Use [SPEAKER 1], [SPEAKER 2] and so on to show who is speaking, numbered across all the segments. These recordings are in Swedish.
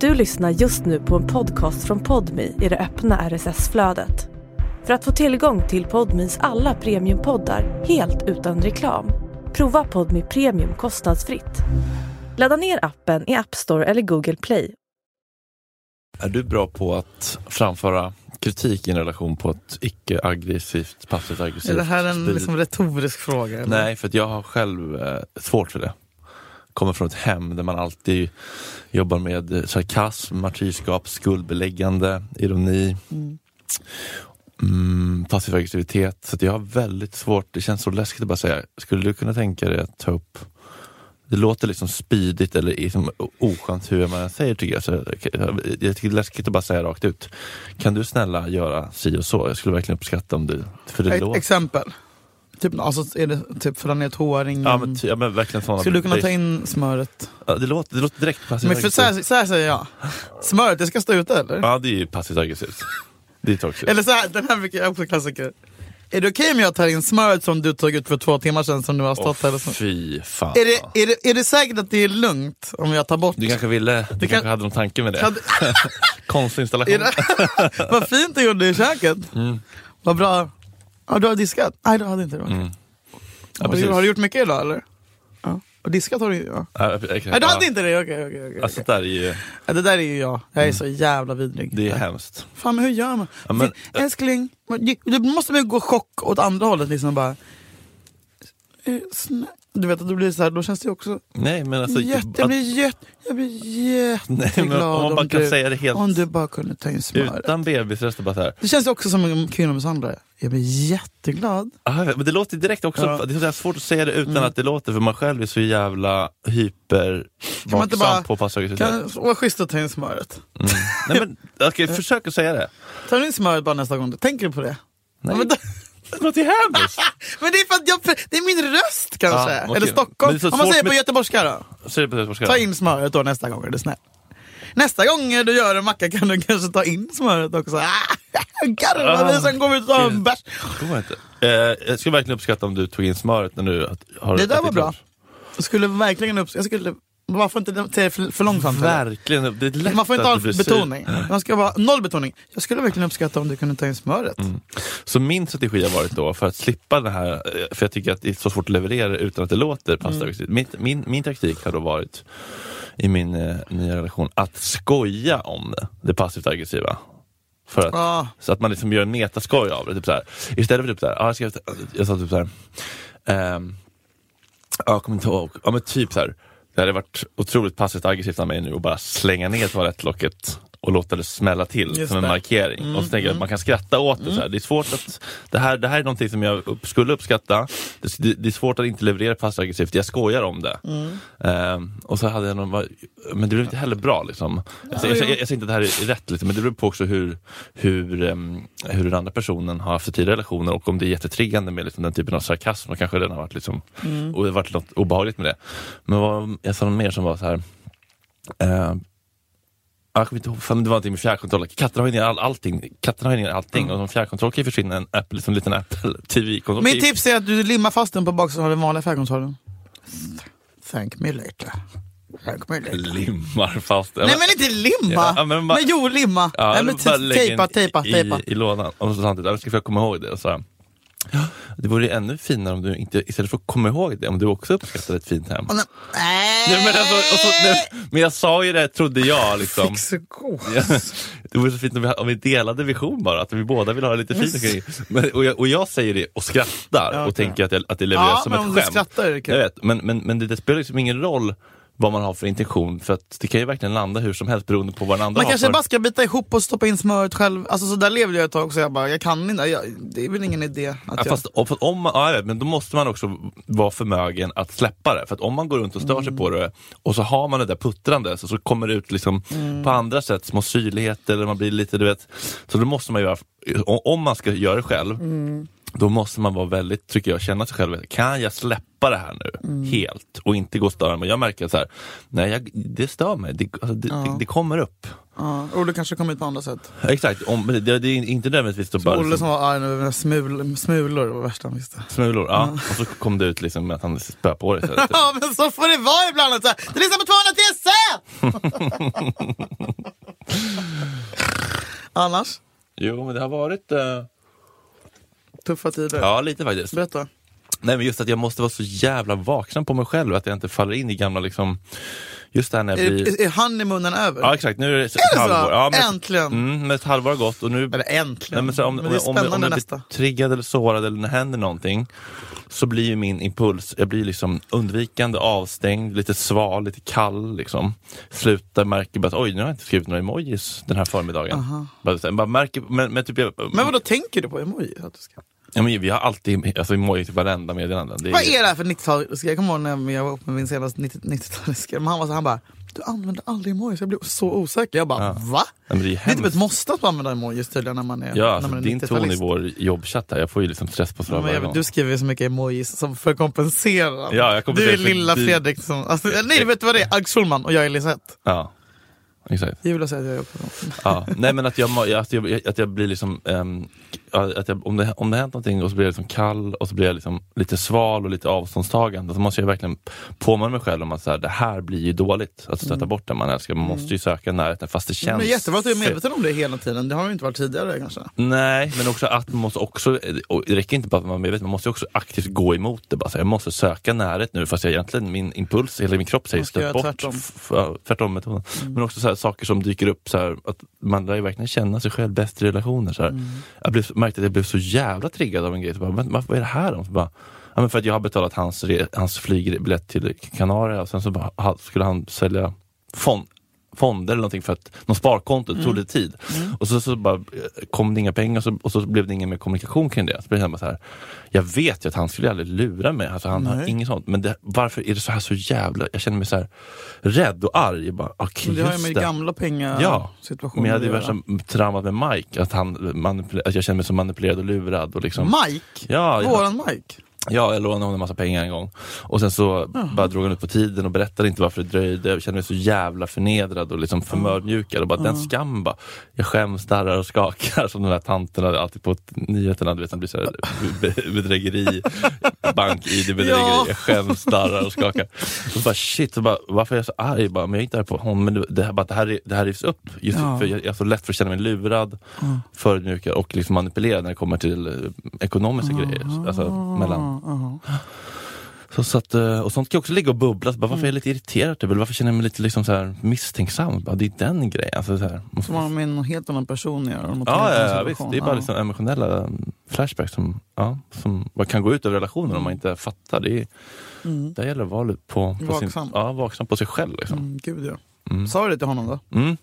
[SPEAKER 1] Du lyssnar just nu på en podcast från Podmi i det öppna RSS-flödet. För att få tillgång till Podmis alla premiumpoddar helt utan reklam, prova Podmi Premium kostnadsfritt. Ladda ner appen i App Store eller Google Play.
[SPEAKER 2] Är du bra på att framföra kritik i en relation på ett icke-aggressivt, passivt
[SPEAKER 3] Är
[SPEAKER 2] aggressivt
[SPEAKER 3] det här en
[SPEAKER 2] stil?
[SPEAKER 3] liksom, retorisk fråga? eller?
[SPEAKER 2] Nej, för att jag har själv eh, svårt för det. Kommer från ett hem där man alltid jobbar med eh, sarkasm, martyrskap, skuldbeläggande, ironi, mm, passiv aggressivitet. Så att jag har väldigt svårt, det känns så läskigt att bara säga, skulle du kunna tänka dig att ta upp det låter liksom spydigt eller liksom oskönt hur man än säger tycker jag. Så jag jag tycker det är läskigt att bara säga rakt ut. Kan du snälla göra si och så? Jag skulle verkligen uppskatta om du... För det
[SPEAKER 3] Ett
[SPEAKER 2] låter...
[SPEAKER 3] exempel. Typ, alltså, är det, typ för ner tåringen.
[SPEAKER 2] Ja men, ty- ja men verkligen sådana...
[SPEAKER 3] Skulle du kunna
[SPEAKER 2] det-
[SPEAKER 3] ta in smöret?
[SPEAKER 2] Ja, det, låter, det låter direkt passivt
[SPEAKER 3] Men för så, här, så här säger jag. Smöret, det ska stå ute eller?
[SPEAKER 2] Ja, det är ju passivt aggressivt. Det är toxiskt.
[SPEAKER 3] Eller så här, den här brukar jag också klassiker. Är det okej om jag tar in smöret som du tog ut för två timmar sedan som du har stått
[SPEAKER 2] Åh,
[SPEAKER 3] här? Och så?
[SPEAKER 2] fy fan.
[SPEAKER 3] Är, det, är, det, är det säkert att det är lugnt om jag tar bort?
[SPEAKER 2] Du kanske ville, du kanske
[SPEAKER 3] kan-
[SPEAKER 2] hade någon tanke med det.
[SPEAKER 3] Hade-
[SPEAKER 2] Konstig installation.
[SPEAKER 3] är det vad fint du gjorde i köket.
[SPEAKER 2] Mm.
[SPEAKER 3] Vad bra. Ja, du har diskat? Nej, du hade inte det.
[SPEAKER 2] Mm. Ja,
[SPEAKER 3] har, du,
[SPEAKER 2] precis.
[SPEAKER 3] har du gjort mycket idag eller? Ja. Och diskat har du ju. Ja.
[SPEAKER 2] Ja, exakt.
[SPEAKER 3] Nej, du hade
[SPEAKER 2] Ja.
[SPEAKER 3] inte det? Okej, okej, okej.
[SPEAKER 2] Alltså
[SPEAKER 3] okej.
[SPEAKER 2] det där är ju,
[SPEAKER 3] Ja, Det där är ju jag. Jag är så jävla vidrig.
[SPEAKER 2] det är hemskt.
[SPEAKER 3] Fan, men hur gör man?
[SPEAKER 2] Ja, men-
[SPEAKER 3] Älskling, man- du måste väl gå chock åt andra hållet liksom bara. eh, snä- Du vet att du blir så här, då känns det ju också
[SPEAKER 2] Nej men alltså,
[SPEAKER 3] jätte, jag
[SPEAKER 2] att-
[SPEAKER 3] blir jätte, jag blir
[SPEAKER 2] nej, men
[SPEAKER 3] jätteglad
[SPEAKER 2] om man bara kan
[SPEAKER 3] du,
[SPEAKER 2] säga det helt
[SPEAKER 3] om du bara kunde ta in smör.
[SPEAKER 2] utan bebisröst och bara såhär.
[SPEAKER 3] Det känns ju också som en kvinnomisshandlare. Jag blir jätteglad.
[SPEAKER 2] "Ah, Men det låter direkt också,
[SPEAKER 3] Ja. Mm.
[SPEAKER 2] det är så här svårt att säga det utan att det låter för man själv är så jävla hyper
[SPEAKER 3] Kan man inte bara-
[SPEAKER 2] vaksam på passiv aggressivitet.
[SPEAKER 3] Kan, vad schysst att ta in smöret.
[SPEAKER 2] Mm. Nej men okej, försök att säga det.
[SPEAKER 3] Tar du in smöret bara nästa gång? du Tänker du på det?
[SPEAKER 2] Nej.
[SPEAKER 3] Ja, Men, då-
[SPEAKER 2] Det låter ju hemskt.
[SPEAKER 3] men det är för att jag, det är min röst kanske.
[SPEAKER 2] Ja, okej.
[SPEAKER 3] Eller
[SPEAKER 2] Men
[SPEAKER 3] Stockholm.
[SPEAKER 2] det är så
[SPEAKER 3] Om man
[SPEAKER 2] svårt
[SPEAKER 3] säger på
[SPEAKER 2] med-
[SPEAKER 3] göteborgska då.
[SPEAKER 2] Säg det på göteborgska.
[SPEAKER 3] Ta in smöret då nästa gång är du snäll. Nästa gång du gör en macka kan du kanske ta in smöret också. Ah, Garva vi som kommer ut och tar en
[SPEAKER 2] Gud.
[SPEAKER 3] bärs.
[SPEAKER 2] Det går inte. Eh, jag skulle verkligen uppskatta om du tog in smöret när du att- har
[SPEAKER 3] Det där
[SPEAKER 2] ätit
[SPEAKER 3] var bra.
[SPEAKER 2] lunch.
[SPEAKER 3] Jag skulle verkligen upp... Jag skulle... Varför inte det är för, för långsamt? eller?
[SPEAKER 2] Verkligen. Det är lätt
[SPEAKER 3] Man får inte
[SPEAKER 2] att
[SPEAKER 3] ha
[SPEAKER 2] du blir
[SPEAKER 3] betoning.
[SPEAKER 2] sur.
[SPEAKER 3] Man ska vara noll betoning. Jag skulle verkligen uppskatta om du kunde ta in smöret.
[SPEAKER 2] Mm. Så min strategi har varit då, för att slippa det här, eh, för jag tycker att det är så svårt att leverera utan att det låter passiv mm. min, min, min taktik har då varit, i min eh, nya relation, att skoja om det, det passivt aggressiva. För att,
[SPEAKER 3] Ah.
[SPEAKER 2] Så att man liksom gör en metaskoj av det. Typ så här. Istället för typ så här, ah, jag, ska, jag sa typ så här, ehm, Ja, jag kommer inte ihåg. Ja, men typ så här. Det hade varit otroligt passivt aggressivt av mig nu och bara slänga ner toalettlocket och låta det smälla till
[SPEAKER 3] Just
[SPEAKER 2] som en
[SPEAKER 3] det.
[SPEAKER 2] markering. och så tänker jag att man kan skratta åt det. Så här. Det är svårt att... Det här, det här är någonting som jag upp, skulle uppskatta. Det, det, det är svårt att inte leverera passivt aggressivt. Jag skojar om det. Ehm, och så hade jag någon... bara, Men det blev inte heller bra liksom. Jag, säger- jag, jag, jag säger inte att det här är rätt, liksom, men det beror på också hur, hur, ehm, hur den andra personen har haft tidigare relationer och om det är jättetriggande med liksom, den typen av sarkasm. Och kanske den har varit liksom, och det har varit något obehagligt med det. Men vad, jag sa något mer som var så här. Eh, jag kommer inte ihåg, fan, det var typ någonting med fjärrkontroller. Katter har ju ner all, allting. Katterna har ju ner allting
[SPEAKER 3] Mm.
[SPEAKER 2] och som fjärrkontroll kan ju försvinna en Apple, liksom, liten Apple Typ TV-kontroll.
[SPEAKER 3] Mitt tips är att du limmar fast den på baksidan av den vanliga färgkontrollen. Thank me later. Thank me later.
[SPEAKER 2] Limmar fast.
[SPEAKER 3] Nej men inte limma!
[SPEAKER 2] Ja, ja, men bara-
[SPEAKER 3] men jo, limma!
[SPEAKER 2] Ja,
[SPEAKER 3] Nej,
[SPEAKER 2] eller
[SPEAKER 3] men
[SPEAKER 2] bara
[SPEAKER 3] typ,
[SPEAKER 2] lägga in
[SPEAKER 3] tejpa, tejpa,
[SPEAKER 2] i,
[SPEAKER 3] tejpa.
[SPEAKER 2] I, lådan. Och så samtidigt, jag ska försöka komma ihåg det. Och så här, "Ja, det vore ju ännu finare om du inte, istället för att komma ihåg det, om du också uppskattade ett fint hem.
[SPEAKER 3] Och den-
[SPEAKER 2] Nej, men, alltså, och så, nej, men jag sa ju det, trodde jag. Liksom.
[SPEAKER 3] Fixegod.
[SPEAKER 2] Ja, det vore så fint om vi, om vi delade vision bara, att vi båda vill ha det lite fint omkring. Men, och, jag, och jag säger det och skrattar
[SPEAKER 3] Ja,
[SPEAKER 2] och
[SPEAKER 3] okej.
[SPEAKER 2] tänker att, jag, att det levereras
[SPEAKER 3] Ja,
[SPEAKER 2] som
[SPEAKER 3] men
[SPEAKER 2] ett
[SPEAKER 3] om du
[SPEAKER 2] skämt.
[SPEAKER 3] skrattar är det kul.
[SPEAKER 2] jag vet, men men, men det, det spelar liksom ingen roll vad man har för intention, för att det kan ju verkligen landa hur som helst beroende på vad den andra
[SPEAKER 3] Man
[SPEAKER 2] har
[SPEAKER 3] kanske
[SPEAKER 2] för...
[SPEAKER 3] bara ska bita ihop och stoppa in smöret själv. Alltså så där levde jag ett tag också, jag bara, jag kan inte, jag, det är väl ingen idé att
[SPEAKER 2] Ja,
[SPEAKER 3] jag...
[SPEAKER 2] fast, om- för om man, ja, jag vet, men då måste man också vara förmögen att släppa det. För att om man går runt och stör
[SPEAKER 3] Mm.
[SPEAKER 2] sig på det och så har man det där puttrande så, så kommer det ut liksom
[SPEAKER 3] Mm.
[SPEAKER 2] på andra sätt, små syrligheter eller man blir lite, du vet. Så då måste man göra, o- om man ska göra det själv,
[SPEAKER 3] Mm.
[SPEAKER 2] då måste man vara väldigt, tycker jag, känna sig själv. Kan jag släppa det här nu
[SPEAKER 3] Mm.
[SPEAKER 2] helt och inte gå och störa mig? Jag märker så här, nej jag, det stör mig, det, alltså, det, det, det kommer upp.
[SPEAKER 3] Ja. Olle kanske kommer ut på andra sätt.
[SPEAKER 2] Exakt, om, det, det är inte nödvändigtvis att
[SPEAKER 3] Så
[SPEAKER 2] bara
[SPEAKER 3] Olle
[SPEAKER 2] liksom,
[SPEAKER 3] som var arg nu, med smul, smulor var det värsta han visste.
[SPEAKER 2] smulor. Ja. Och så kom det ut liksom med att han spöade på dig. så här.
[SPEAKER 3] Ja men så får det vara ibland. Alltså. Du lyssnar på 200 TSN! Annars,
[SPEAKER 2] Jo, men det har varit... eh,
[SPEAKER 3] tuffa tider.
[SPEAKER 2] Ja, lite faktiskt.
[SPEAKER 3] Berätta.
[SPEAKER 2] Nej, men just att jag måste vara så jävla vaksam på mig själv, att jag inte faller in i gamla liksom... Just det här när jag
[SPEAKER 3] Är,
[SPEAKER 2] blir...
[SPEAKER 3] är honeymoon över?
[SPEAKER 2] Ja, exakt. Nu är det,
[SPEAKER 3] det
[SPEAKER 2] ett
[SPEAKER 3] så?
[SPEAKER 2] halvår. Ja, men-
[SPEAKER 3] Äntligen.
[SPEAKER 2] Mm, men ett halvår har gått och nu...
[SPEAKER 3] Eller äntligen.
[SPEAKER 2] Nej, men så här, om,
[SPEAKER 3] Men
[SPEAKER 2] om,
[SPEAKER 3] det är
[SPEAKER 2] jag- om, jag-
[SPEAKER 3] spännande
[SPEAKER 2] om jag blir
[SPEAKER 3] nästa.
[SPEAKER 2] triggad eller sårad eller när det händer någonting så blir ju min impuls, jag blir liksom undvikande, avstängd, lite sval, lite kall liksom. Slutar, märker bara att oj, nu har jag inte skrivit några emojis den här förmiddagen. Bara, så här, bara märker, men, men typ jag,
[SPEAKER 3] Men vad då tänker du på emoji? Att du ska...
[SPEAKER 2] ja, men vi har alltid alltså, emojis i varenda meddelande. Det
[SPEAKER 3] Vad är det här för 90-taliska? Jag kommer ihåg när jag var uppe med min senaste 90- 90-taliska. Men Han, var så- han bara, du använder aldrig emojis. Jag blev så osäker. Jag bara, va?
[SPEAKER 2] men det är ju
[SPEAKER 3] det är typ
[SPEAKER 2] hemskt.
[SPEAKER 3] ett måste att man använder emojis tydligen när man är,
[SPEAKER 2] Ja,
[SPEAKER 3] när
[SPEAKER 2] alltså,
[SPEAKER 3] man är
[SPEAKER 2] din ton i
[SPEAKER 3] 90-talist.
[SPEAKER 2] vår jobbchatt här, jag får ju liksom stress på så
[SPEAKER 3] Ja, men
[SPEAKER 2] varje
[SPEAKER 3] jag,
[SPEAKER 2] gång.
[SPEAKER 3] du skriver ju så mycket emojis som för att kompensera.
[SPEAKER 2] Ja, jag kompenserar
[SPEAKER 3] du är
[SPEAKER 2] för
[SPEAKER 3] lilla
[SPEAKER 2] din-
[SPEAKER 3] Fredrik som... Alltså, nej, du vet du vad det är? Ag Schulman och jag är Lisette.
[SPEAKER 2] Ja, exakt.
[SPEAKER 3] Jag vill säga att jag är uppe på
[SPEAKER 2] Ja. Nej men att jag, ma- att jag, att jag blir liksom, ehm, ja, att jag, om, det, om det hänt någonting och så blir jag liksom kall och så blir jag liksom lite sval och lite avståndstagande så måste jag verkligen påminna mig själv om att så här, det här blir ju dåligt. Att stöta bort den man älskar. Man måste ju söka närheten fast det
[SPEAKER 3] Mm. Men
[SPEAKER 2] känns
[SPEAKER 3] det är jättebra att du är
[SPEAKER 2] fel.
[SPEAKER 3] medveten om det hela tiden. Det har du inte varit tidigare kanske.
[SPEAKER 2] Nej, men också att man måste också, och det räcker inte bara att man är medveten, man måste också aktivt gå emot det. Bara så här, jag måste söka närhet nu fast jag egentligen, min impuls, hela min kropp säger
[SPEAKER 3] Man ska
[SPEAKER 2] släpp
[SPEAKER 3] göra
[SPEAKER 2] bort.
[SPEAKER 3] tvärtom. Mm.
[SPEAKER 2] F- ja, Tvärtom metoden. Men också så här, saker som dyker upp, så här, att man lär ju verkligen känna sig själv bäst i relationer. Så här.
[SPEAKER 3] Mm.
[SPEAKER 2] Jag blev, märkte att jag blev så jävla triggad av en grej. Så bara, men, vad vad är det här om? Så bara, ja, men för att jag har betalat hans, re- hans flygbiljett till Kanarien och sen så bara, ha- skulle han sälja fond fonder eller någonting för att någon sparkonto,
[SPEAKER 3] Mm.
[SPEAKER 2] det tog lite tid. Och så, så bara eh, kom det inga pengar och så, och så blev det ingen mer kommunikation kring det. Så blev det bara så här, jag vet ju att han skulle aldrig lura mig, alltså, han har
[SPEAKER 3] Nej.
[SPEAKER 2] inget sånt. Men det, varför är det så här så jävla, jag känner mig så här rädd och arg. Jag bara, okay,
[SPEAKER 3] Men det har ju
[SPEAKER 2] just
[SPEAKER 3] med
[SPEAKER 2] det.
[SPEAKER 3] gamla
[SPEAKER 2] Ja,
[SPEAKER 3] pengasituationer
[SPEAKER 2] men jag hade ju
[SPEAKER 3] att göra.
[SPEAKER 2] värsta traumat med Mike, att, han manipul- att jag kände mig så manipulerad och lurad. Och liksom,
[SPEAKER 3] Mike?
[SPEAKER 2] Ja, jag-
[SPEAKER 3] Våran Mike?
[SPEAKER 2] Ja, jag lånade honom en massa pengar en gång. Och sen så bara drog han ut på tiden och berättade inte varför det dröjde. Jag kände mig så jävla förnedrad och liksom förmödmjukad. Och bara den skam bara. Jag skäms, darrar och skakar som den där tanten hade alltid på nyheterna. Du vet, han blir så här, be- bedrägeri, bank-id bedrägeri.
[SPEAKER 3] Ja.
[SPEAKER 2] Jag skäms, darrar och skakar. Och bara shit, så bara, varför är jag så arg? Bara, men jag är inte arg på honom. Men det- det här, bara, det här, är- det här rivs upp. Just
[SPEAKER 3] Ja.
[SPEAKER 2] för jag, jag är så lätt för att känna mig lurad, förödmjukad och liksom manipulerad när det kommer till eh, ekonomiska grejer. Alltså mellan så, så att, eh, och sånt kan också ligga och bubbla. Så Bara,
[SPEAKER 3] Mm.
[SPEAKER 2] varför är jag lite irriterad? Typ? Eller varför känner jag mig lite liksom, så här, misstänksam? Bara, det är den grejen. Alltså, så här.
[SPEAKER 3] Som har med en helt annan person att göra. och något
[SPEAKER 2] Ja,
[SPEAKER 3] helt
[SPEAKER 2] ja,
[SPEAKER 3] annan
[SPEAKER 2] ja, visst.
[SPEAKER 3] situation.
[SPEAKER 2] Det är bara
[SPEAKER 3] Ja.
[SPEAKER 2] liksom emotionella mm, flashbacks som, ja, som bara kan gå ut över relationen om man inte fattar. Det, är,
[SPEAKER 3] Mm.
[SPEAKER 2] där gäller valet på, på
[SPEAKER 3] Vaksam.
[SPEAKER 2] Sin, ja, vaksam på sig själv. Liksom.
[SPEAKER 3] Mm, gud ja.
[SPEAKER 2] Mm.
[SPEAKER 3] Sa du det till honom då?
[SPEAKER 2] Mm.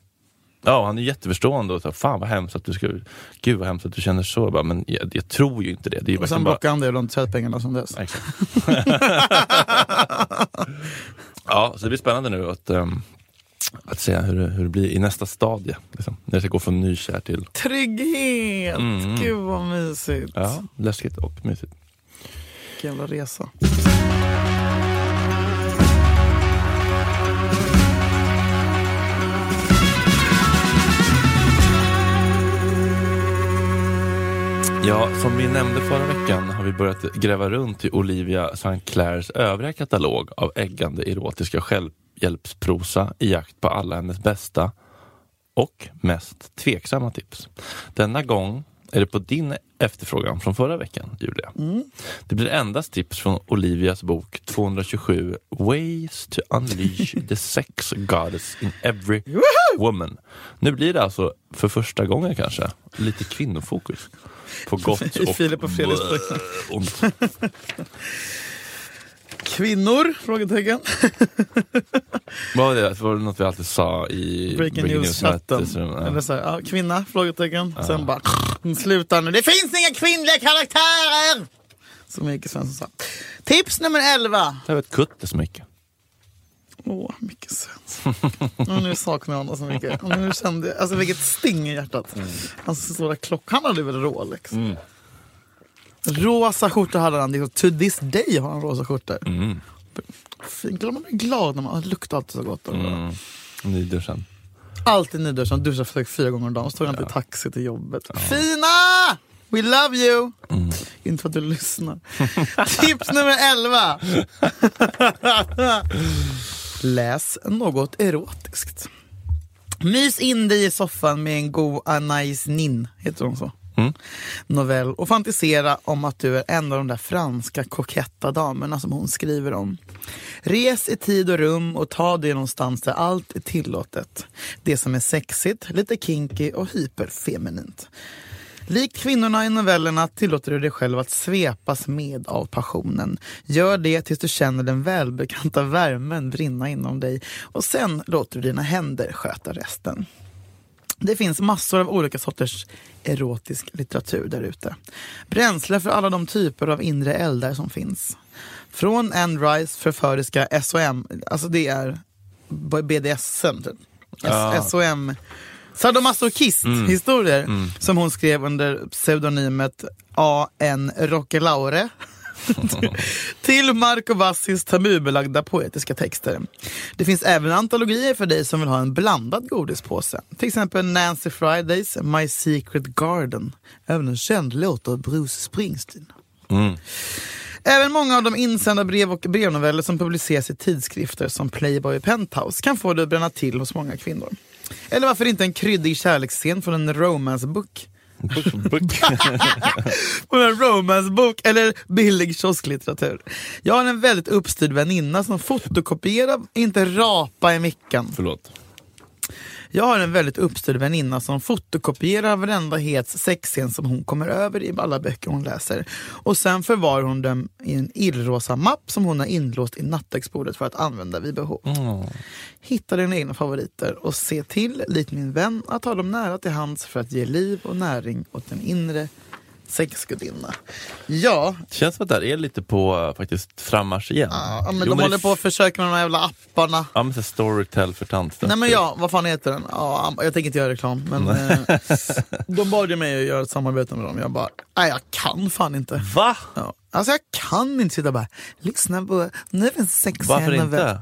[SPEAKER 2] Ja, och han är jätteförstående och så, här, fan vad hemskt att du skulle, gud vad hemskt att du känner så. Jag Bara, men jag, jag tror ju inte det. det är ju
[SPEAKER 3] Och
[SPEAKER 2] verkligen
[SPEAKER 3] sen
[SPEAKER 2] bara,
[SPEAKER 3] blockade han dig och du har inte sett pengarna sen dess.
[SPEAKER 2] Exakt. ja, så det blir spännande nu att, ehm, att se hur det, hur det blir i nästa stadie. Liksom. När det ska gå från nykär till
[SPEAKER 3] Trygghet!
[SPEAKER 2] Mm.
[SPEAKER 3] Gud vad mysigt.
[SPEAKER 2] ja, läskigt och mysigt.
[SPEAKER 3] Vilken jävla resa.
[SPEAKER 2] Ja, som vi nämnde förra veckan har vi börjat gräva runt i Olivia St. Clairs övriga katalog av äggande erotiska självhjälpsprosa i jakt på alla hennes bästa och mest tveksamma tips. Denna gång är det på din efterfrågan från förra veckan, Julia.
[SPEAKER 3] Mm.
[SPEAKER 2] Det blir endast tips från Olivias bok 227 Ways to Unleash the Sex Goddess in Every Woman. Nu blir det alltså för första gången kanske lite kvinnofokus. På gott
[SPEAKER 3] I
[SPEAKER 2] och
[SPEAKER 3] Filip och Fredriks böcker.
[SPEAKER 2] ont.
[SPEAKER 3] Kvinnor? Frågetecken.
[SPEAKER 2] Vad var det? Var det något vi alltid sa i
[SPEAKER 3] Breaking news-chatten.
[SPEAKER 2] mötesrum? Ja.
[SPEAKER 3] Eller så här, ja, kvinna? Frågetecken. Sen bara, "Mm, sluta nu. Det finns inga kvinnliga karaktärer! Som Micke Svensson sa. Tips nummer 11.
[SPEAKER 2] Det här var ett kutte så mycket.
[SPEAKER 3] Åh, mycket söt. Och nu saknar jag honom så mycket. Och nu kände jag, alltså vilket sting i hjärtat. Hans stora klock. Han hade väl Rolex? Rosa skjorta hade han. Det är så- To this day har han rosa skjortor.
[SPEAKER 2] Mm.
[SPEAKER 3] Fint. Man blir glad när man luktar alltid så gott.
[SPEAKER 2] Mm. Nyduschen.
[SPEAKER 3] Alltid nyduschad, duschar för typ fyra gånger om dagen, så tar jag alltid taxi till jobbet. Fina! We love you! Inte för att du lyssnar. Tips nummer 11. Läs något erotiskt. Mys in dig i soffan med en god Anais Nin, heter hon så? novell och fantisera om att du är en av de där franska koketta damerna som hon skriver om. Res i tid och rum och ta dig någonstans där allt är tillåtet. Det som är sexigt, lite kinky och hyperfeminint. Likt kvinnorna i novellerna tillåter du dig själv att svepas med av passionen. Gör det tills du känner den välbekanta värmen brinna inom dig och sen låter du dina händer sköta resten. Det finns massor av olika sorters erotisk litteratur där ute. Bränsle för alla de typer av inre eldar som finns. Från Anne Rice, förföriska SOM, alltså det är BDSM, typ.
[SPEAKER 2] Ja.
[SPEAKER 3] S- SOM, sadomasochist-historier som hon skrev under pseudonymet A.N. Rockelaure till Marco Bassis tabubelagda poetiska texter. Det finns även antologier för dig som vill ha en blandad godispåse. Till exempel Nancy Fridays My Secret Garden. Även en känd låt av Bruce Springsteen.
[SPEAKER 2] Mm.
[SPEAKER 3] Även många av de insända brev och brevnoveller som publiceras i tidskrifter som Playboy och Penthouse kan få dig att bränna till hos många kvinnor. Eller varför inte en kryddig kärleksscen från en romance-bok? Hon har en romancebok eller billig kiosklitteratur. Jag har en väldigt uppstyrd väninna som fotokopierar, inte rapa i mickan.
[SPEAKER 2] Förlåt.
[SPEAKER 3] Jag har en väldigt uppstyrd väninna som fotokopierar varenda hets sexscen som hon kommer över i alla böcker hon läser. Och sen förvarar hon dem i en illrosa mapp som hon har inlåst i nattduksbordet för att använda vid behov.
[SPEAKER 2] Mm.
[SPEAKER 3] Hitta dina egna favoriter och se till, likt min vän, att ha dem nära till hands för att ge liv och näring åt den inre sexgudinna. Ja,
[SPEAKER 2] Det känns som att det här är lite på eh, faktiskt frammarsch igen.
[SPEAKER 3] ja men
[SPEAKER 2] Jo,
[SPEAKER 3] de
[SPEAKER 2] det-
[SPEAKER 3] håller på och försöker med de här jävla apparna.
[SPEAKER 2] Ja men så här Storytel för tanter.
[SPEAKER 3] Nej men ja, vad fan heter den? Ja, am- jag tänker inte göra reklam men eh, de bad ju mig att göra ett samarbete med dem. Jag bara, nej jag kan fan inte.
[SPEAKER 2] Va?
[SPEAKER 3] Ja. Alltså jag kan inte sitta och bara, lyssna på, nu finns sexiga
[SPEAKER 2] Varför
[SPEAKER 3] novell-
[SPEAKER 2] inte?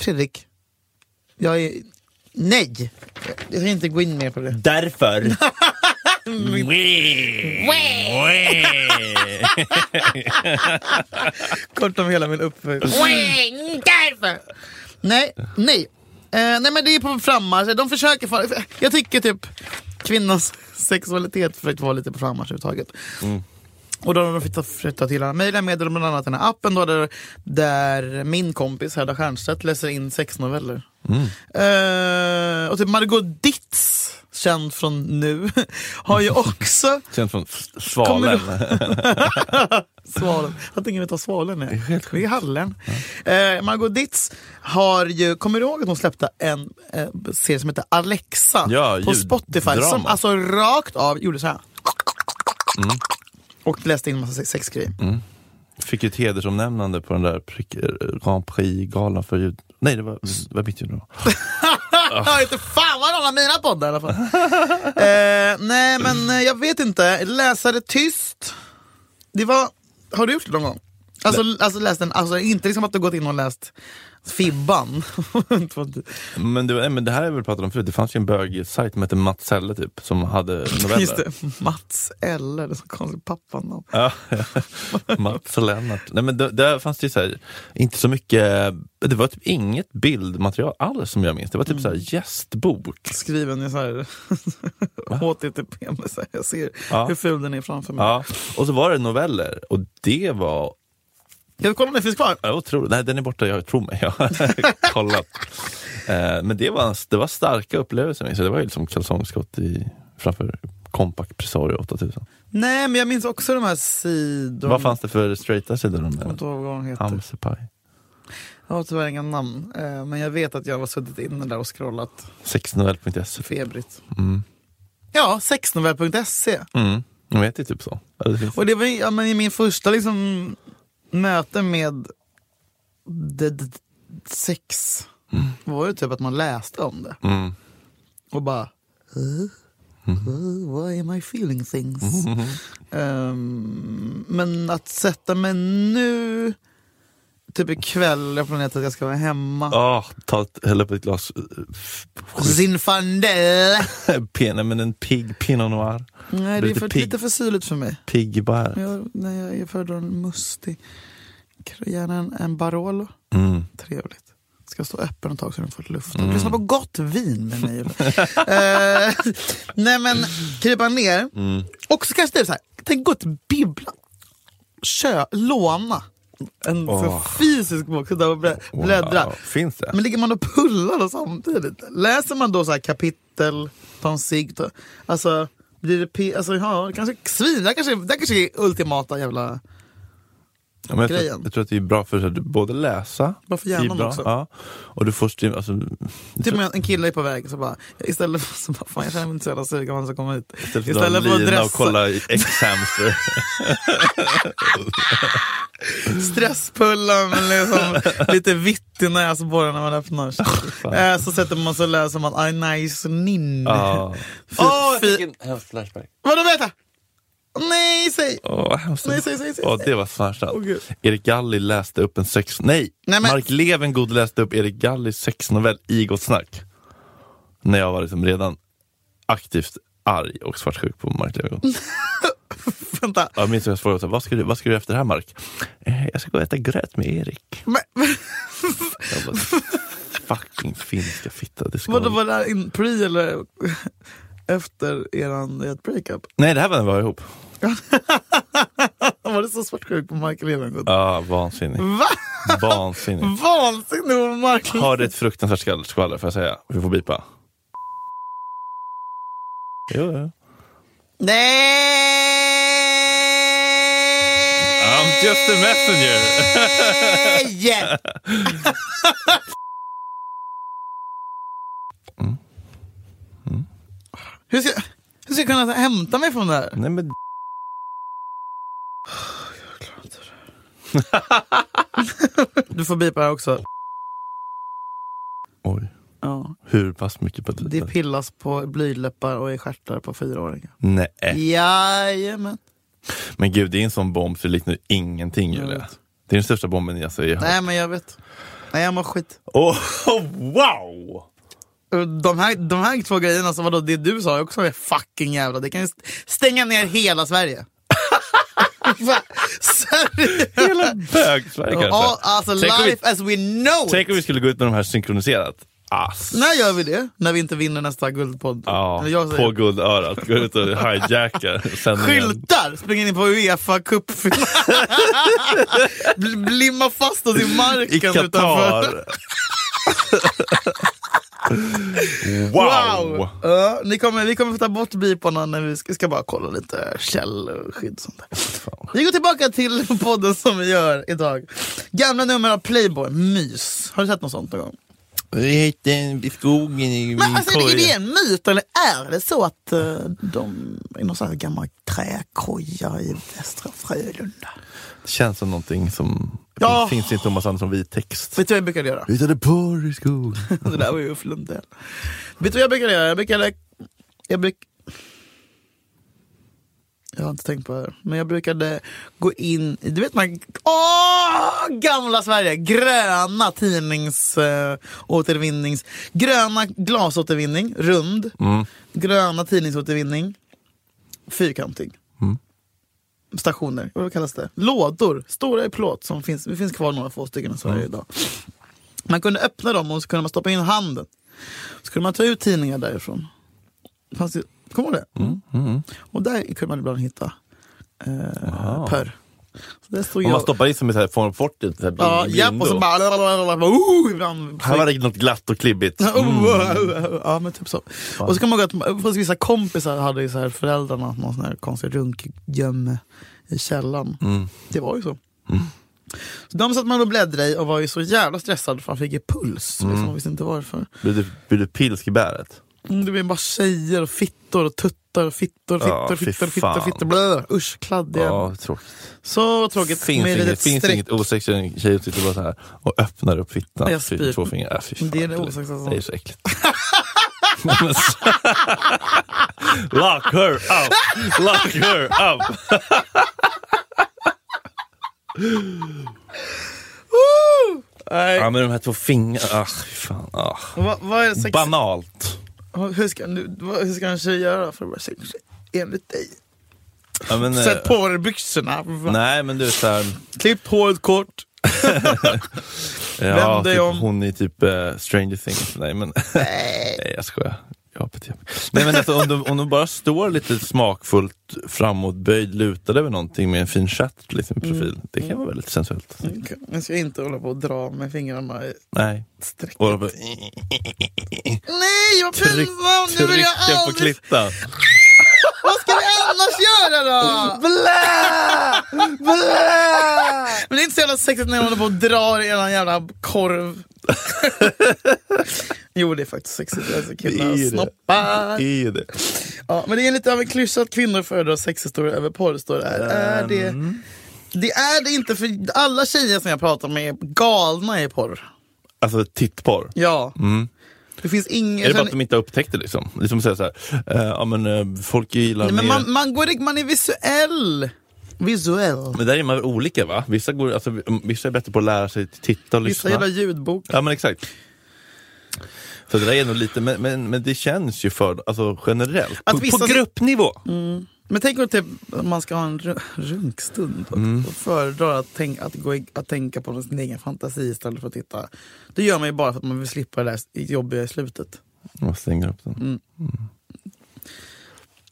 [SPEAKER 3] Fredrik, jag är, nej, jag ska inte gå in mer på det.
[SPEAKER 2] Därför.
[SPEAKER 3] Kort om hela min uppväxt. Nej, nej. Eh, nej men det är på frammarsch. De försöker. För, jag tycker typ kvinnans sexualitet försöker vara lite på frammarsch överhuvudtaget. Och då har de flyttat, flyttat till alla möjliga medel, bland annat den här appen då, där, där min kompis Hedda Stiernstedt läser in sexnoveller. Eh, och typ Margot Ditz, känd från nu, har ju också
[SPEAKER 2] Känns från svalen.
[SPEAKER 3] Svalen. Jag tänker inte vad svalen är. Det är hallen. Eh, Margot Ditz har ju, kommer du ihåg att hon släppte en eh, serie som heter Alexa
[SPEAKER 2] Ja,
[SPEAKER 3] på
[SPEAKER 2] ljud-
[SPEAKER 3] Spotify? Som
[SPEAKER 2] drama.
[SPEAKER 3] alltså rakt av gjorde så här. Mm. Och läste in massa sex- sexgrejer.
[SPEAKER 2] Fick ju ett hedersomnämnande på den där prick, eh, Grand Prix-galan för ljud... Nej, det var, det var mitt ljud.
[SPEAKER 3] Jag vet inte fan vad någon av mina poddar i alla fall. eh, nej men eh, jag vet inte, läsa det tyst. Det var, har du gjort det någon gång? Alltså, alltså, läst den, alltså inte liksom att du gått in och läst Fibban.
[SPEAKER 2] Men det, var- nej, men det här har vi väl pratat om förut, det fanns ju en bögsajt som hette Mats Selle typ, som hade noveller.
[SPEAKER 3] Just det, Mats eller, det är så konstigt pappanamn.
[SPEAKER 2] Ja, Mats och Lennart. Nej, men då- där fanns det ju så här, inte så mycket, det var typ inget bildmaterial alls som jag minns. Det var typ så här gästbok.
[SPEAKER 3] Skriven i så här HTTP, med så här, jag ser
[SPEAKER 2] Ja.
[SPEAKER 3] hur ful den är framför mig.
[SPEAKER 2] Ja. Och så var det noveller och det var
[SPEAKER 3] Ska vi kolla om den finns kvar?
[SPEAKER 2] ja, otroligt. Nej, den är borta, jag tror mig. Jag har kollat. Eh, men det var, det var starka upplevelser. minns jag. Det var ju liksom kalsongskott i, framför Compact Presario 8000.
[SPEAKER 3] Nej, men jag minns också de här sidorna.
[SPEAKER 2] Vad fanns det för straighta sidor om
[SPEAKER 3] Jag kommer inte
[SPEAKER 2] det?
[SPEAKER 3] ihåg vad de heter.
[SPEAKER 2] Hamserpaj.
[SPEAKER 3] Jag har tyvärr inga namn. Eh, Men jag vet att jag har suttit inne där och scrollat
[SPEAKER 2] Sexnovell.se.
[SPEAKER 3] febrigt. Ja, sexnovell.se.
[SPEAKER 2] Mm. Jag vet, det är typ så. Eller det finns-
[SPEAKER 3] Och det var ju- ja, men i min första liksom, möte med d- d- sex var det typ att man läste om det.
[SPEAKER 2] Mm.
[SPEAKER 3] Och bara... "Huh? Huh? Why am I feeling things? Ehm, men att sätta mig nu, typ ikväll, jag planerat att jag ska vara hemma.
[SPEAKER 2] Ah, ta ett, häll upp ett glas eh, f-
[SPEAKER 3] Zinfandel!
[SPEAKER 2] pen, nej, men en pigg pinot noir.
[SPEAKER 3] Nej, det är
[SPEAKER 2] Lite
[SPEAKER 3] för,
[SPEAKER 2] pigg.
[SPEAKER 3] lite för syrligt för mig.
[SPEAKER 2] Pigg bär.
[SPEAKER 3] Jag, nej, jag, jag föredrar en mustig, gärna en, en Barolo.
[SPEAKER 2] Mm.
[SPEAKER 3] Trevligt. Ska stå öppen ett tag så den får luft. Mm. Lyssna på gott vin med mig. eh, nej men, krypa ner.
[SPEAKER 2] Mm.
[SPEAKER 3] Och så kanske typ så här, tänk gå till bibblan. Kö, låna. En så
[SPEAKER 2] Åh.
[SPEAKER 3] fysisk bok, sitta och blä, bläddra.
[SPEAKER 2] Wow. Finns det?
[SPEAKER 3] Men ligger man och pullar då samtidigt? Läser man då så här kapitel, tar en cigg, tar- alltså blir det p- alltså, ja, det kanske svin, det här kanske, det här kanske är ultimata jävla...
[SPEAKER 2] Ja, men jag,
[SPEAKER 3] grejen.
[SPEAKER 2] tror, jag tror att det är bra för att du både läsa,
[SPEAKER 3] Bra för
[SPEAKER 2] det är
[SPEAKER 3] hjärnan också.
[SPEAKER 2] Ja, och du får stim- alltså,
[SPEAKER 3] Typ om en kille är på väg så bara, istället för så bara, fan jag känner mig inte så jävla sugen på att komma hit.
[SPEAKER 2] istället för att dra en lina och kolla i X-hamster.
[SPEAKER 3] stresspullan men liksom, lite vitt i näsborren när man öppnar.
[SPEAKER 2] Ah,
[SPEAKER 3] Eh, så sätter man sig och läser om att I nice nin.
[SPEAKER 2] Ja.
[SPEAKER 3] Fy- fy-
[SPEAKER 2] hemsk flashback.
[SPEAKER 3] Vadå vänta? Nej säg!
[SPEAKER 2] Åh, vad hemskt.
[SPEAKER 3] Nej, säg, säg, säg,
[SPEAKER 2] Åh,
[SPEAKER 3] säg.
[SPEAKER 2] det var smärtsamt.
[SPEAKER 3] Åh, Gud.
[SPEAKER 2] Erik Galli läste upp en sex... Nej!
[SPEAKER 3] Nej, men-
[SPEAKER 2] Mark Levengood läste upp Erik Gallis sexnovell i Gott Snack. När jag var liksom redan aktivt arg och svartsjuk på Mark Levengood.
[SPEAKER 3] Vänta.
[SPEAKER 2] Jag minns att jag frågade så här, vad ska du, vad ska du göra efter det här Mark? Eh, jag ska gå och äta gröt med Erik.
[SPEAKER 3] Men, men,
[SPEAKER 2] Jag bara, fucking finska fitta. Det ska
[SPEAKER 3] vadå
[SPEAKER 2] man-
[SPEAKER 3] var det här in pre eller efter eran ert breakup?
[SPEAKER 2] Nej, det här var när vi var ihop.
[SPEAKER 3] Var det så svartsjuk på Michael Levengood?
[SPEAKER 2] Ja, vansinnig.
[SPEAKER 3] Va?
[SPEAKER 2] Vansinnig.
[SPEAKER 3] Vansinnig på Michael!
[SPEAKER 2] Har det ett fruktansvärt skall- skvaller får jag säga. Vi får bipa. Jo, jo.
[SPEAKER 3] Nej!
[SPEAKER 2] I'm just a messenger.
[SPEAKER 3] Mm. Yeah. Mm. Hur ska, hur ska jag kunna hämta mig från det här?
[SPEAKER 2] Nej men
[SPEAKER 3] Du får bipa här också.
[SPEAKER 2] oj.
[SPEAKER 3] Ja,
[SPEAKER 2] Hur pass mycket på ett
[SPEAKER 3] det pillas på blyläppar och i stjärtar på fyraåringar.
[SPEAKER 2] Nej.
[SPEAKER 3] Jajamän.
[SPEAKER 2] Men gud, det är en sån bomb så det liknar ingenting Julia.
[SPEAKER 3] vet.
[SPEAKER 2] Det är den största bomben jag ser.
[SPEAKER 3] Mm. Nej men jag vet. Nej jag mår skit.
[SPEAKER 2] Oh, wow!
[SPEAKER 3] De här, de här två grejerna, som vadå, det du sa är också är fucking jävla... Det kan ju st- stänga ner hela Sverige. Va? Seriöst?
[SPEAKER 2] Hela bög-Sverige kanske.
[SPEAKER 3] Ja, alltså
[SPEAKER 2] tänk, om vi,
[SPEAKER 3] life as we know
[SPEAKER 2] tänk om vi
[SPEAKER 3] it.
[SPEAKER 2] skulle gå ut med de här synkroniserat. Ass.
[SPEAKER 3] När gör vi det? När vi inte vinner nästa guldpodd?
[SPEAKER 2] Ja,
[SPEAKER 3] Eller jag säger-
[SPEAKER 2] på guldörat. Gå ut och hijacka sändningen.
[SPEAKER 3] Skyltar! Springer in på Uefa cupfinal. Bl- Blimmar fast oss i marken
[SPEAKER 2] I Qatar.
[SPEAKER 3] utanför.
[SPEAKER 2] wow!
[SPEAKER 3] Wow! Ja, ni kommer, vi kommer få ta bort biparna när vi ska, ska bara kolla lite källskydd. och Sånt där. Vi går tillbaka till podden som vi gör idag. Gamla nummer av Playboy, Mys. Har du sett något sånt någon gång?
[SPEAKER 2] Jag hittade en i skogen i
[SPEAKER 3] Men alltså, är, det, är det
[SPEAKER 2] korgen.
[SPEAKER 3] en myt eller är det så att eh, de i någon sån här gammal träkoja i Västra Frölunda?
[SPEAKER 2] Känns som någonting som
[SPEAKER 3] Ja.
[SPEAKER 2] finns i Thomas Andersson vit text.
[SPEAKER 3] Vet du vad jag brukade göra?
[SPEAKER 2] Hittade porr i skogen.
[SPEAKER 3] Det där var ju Ulf Lundell. Vet du vad jag brukade göra? Jag brukade... Jag bruk... Jag har inte tänkt på det. här. Men jag brukade gå in i, du vet man, åh, gamla Sverige! Gröna tidnings, eh, återvinnings, gröna glasåtervinning, rund. Gröna tidningsåtervinning, fyrkantig.
[SPEAKER 2] Mm.
[SPEAKER 3] Stationer, vad kallas det? Lådor, stora i plåt som finns, det finns kvar några få stycken i Sverige
[SPEAKER 2] Mm.
[SPEAKER 3] idag. Man kunde öppna dem och så kunde man stoppa in handen. Så kunde man ta ut tidningar därifrån. Fanns det, kommer du ihåg det?
[SPEAKER 2] Mm,
[SPEAKER 3] Och där kunde man ibland hitta eh, pörr. Så där stod
[SPEAKER 2] Om man
[SPEAKER 3] jag.
[SPEAKER 2] stoppar i som ett så här Form 40, så här blindo.
[SPEAKER 3] ja, japp, och så bara... lalalala, Oh, ibland,
[SPEAKER 2] Här var det något glatt och klibbigt.
[SPEAKER 3] Ja men typ så. Och så kan man ihåg att fast vissa kompisar hade ju så här föräldrarna någon sån här konstig runkgömme i källaren.
[SPEAKER 2] Mm.
[SPEAKER 3] Det var ju så. Så de satt man och bläddrade i och var ju så jävla stressad för man fick ju puls.
[SPEAKER 2] Mm.
[SPEAKER 3] Liksom, man visste inte varför.
[SPEAKER 2] Blir du, blir du pilsk i bäret?
[SPEAKER 3] Mm, Det blev bara tjejer och fittor och tuttar och fittor,
[SPEAKER 2] Ja,
[SPEAKER 3] fittor,
[SPEAKER 2] fy
[SPEAKER 3] fittor, fittor,
[SPEAKER 2] fan.
[SPEAKER 3] fittor. Blö. Usch, kladdiga.
[SPEAKER 2] Ja, tråkigt.
[SPEAKER 3] Så tråkigt.
[SPEAKER 2] Finns
[SPEAKER 3] med
[SPEAKER 2] inget,
[SPEAKER 3] litet
[SPEAKER 2] finns
[SPEAKER 3] streck.
[SPEAKER 2] inget osexigt när en tjej som sitter bara så här och öppnar upp fittan.
[SPEAKER 3] Jag
[SPEAKER 2] Fy,
[SPEAKER 3] spyr.
[SPEAKER 2] Två fingrar. Äh, fy fan,
[SPEAKER 3] Det är det alltså.
[SPEAKER 2] äckligt.
[SPEAKER 3] osexigaste som-
[SPEAKER 2] Det är så äckligt. Nej, men s- Lock her up! Lock her up!
[SPEAKER 3] Nej.
[SPEAKER 2] Ja men de här två fingrarna, ah, fy fan. Ah.
[SPEAKER 3] Vad, vad är sex...
[SPEAKER 2] Banalt.
[SPEAKER 3] hur, ska, nu, vad, hur ska en tjej göra för att vara sexig? Enligt dig?
[SPEAKER 2] Ja, men, eh,
[SPEAKER 3] Sätt på dig byxorna.
[SPEAKER 2] Nej men du såhär,
[SPEAKER 3] Klippt håret kort.
[SPEAKER 2] ja,
[SPEAKER 3] dig
[SPEAKER 2] typ,
[SPEAKER 3] om.
[SPEAKER 2] hon i typ eh, Stranger Things. Nej men, nej jag skojar. Jag har betyg. Nej men alltså, om, de, om de bara står lite smakfullt framåtböjd, lutade över någonting med en fin chatt liksom, i
[SPEAKER 3] Mm.
[SPEAKER 2] profil. Det kan vara väldigt sensuellt.
[SPEAKER 3] Okej, Jag ska inte hålla på och dra med fingrarna i
[SPEAKER 2] Nej.
[SPEAKER 3] streck.
[SPEAKER 2] Och de bara,
[SPEAKER 3] Nej vad
[SPEAKER 2] tryck,
[SPEAKER 3] pinsamt! Nu vill jag
[SPEAKER 2] trycker på
[SPEAKER 3] aldrig...
[SPEAKER 2] klittan.
[SPEAKER 3] Vad ska vi annars göra då? Blä! Blä! Men det är inte så jävla sexigt när jag håller på och drar i en jävla korv. jo det är faktiskt sexigt. Alltså,
[SPEAKER 2] Det är
[SPEAKER 3] killar
[SPEAKER 2] det.
[SPEAKER 3] snoppar.
[SPEAKER 2] Det är det.
[SPEAKER 3] Ja, men det är lite av en klyscha att kvinnor föredrar sexhistorier över porr, står det här. Är det,
[SPEAKER 2] Ehm.
[SPEAKER 3] det är det inte, för alla tjejer som jag pratar med är galna i porr.
[SPEAKER 2] Alltså tittporr.
[SPEAKER 3] Ja. Det finns
[SPEAKER 2] Mm. Är
[SPEAKER 3] ingen...
[SPEAKER 2] det bara att de inte har upptäckt det liksom? Det är som att säga såhär, eh, ja men eh, folk gillar
[SPEAKER 3] Nej, men
[SPEAKER 2] mer...
[SPEAKER 3] man, man, går, i- man är visuell. Visuell.
[SPEAKER 2] Men där är man väl olika va? Vissa, går, alltså, vissa är bättre på att lära sig titta och
[SPEAKER 3] Vissa
[SPEAKER 2] lyssna.
[SPEAKER 3] gillar ljudbok.
[SPEAKER 2] Ja men exakt. Så det där är nog lite, men, men, men det känns ju för, alltså generellt,
[SPEAKER 3] Att
[SPEAKER 2] på, på
[SPEAKER 3] vissa- Mm.
[SPEAKER 2] gruppnivå.
[SPEAKER 3] Men tänk om typ, man ska ha en ru- runkstund och,
[SPEAKER 2] Mm.
[SPEAKER 3] och föredrar att, tänk, att, gå i, att tänka på sin egen fantasi istället för att titta. Det gör man ju bara för att man vill slippa det där jobbiga i slutet.
[SPEAKER 2] Jag stänger upp den.
[SPEAKER 3] Mm.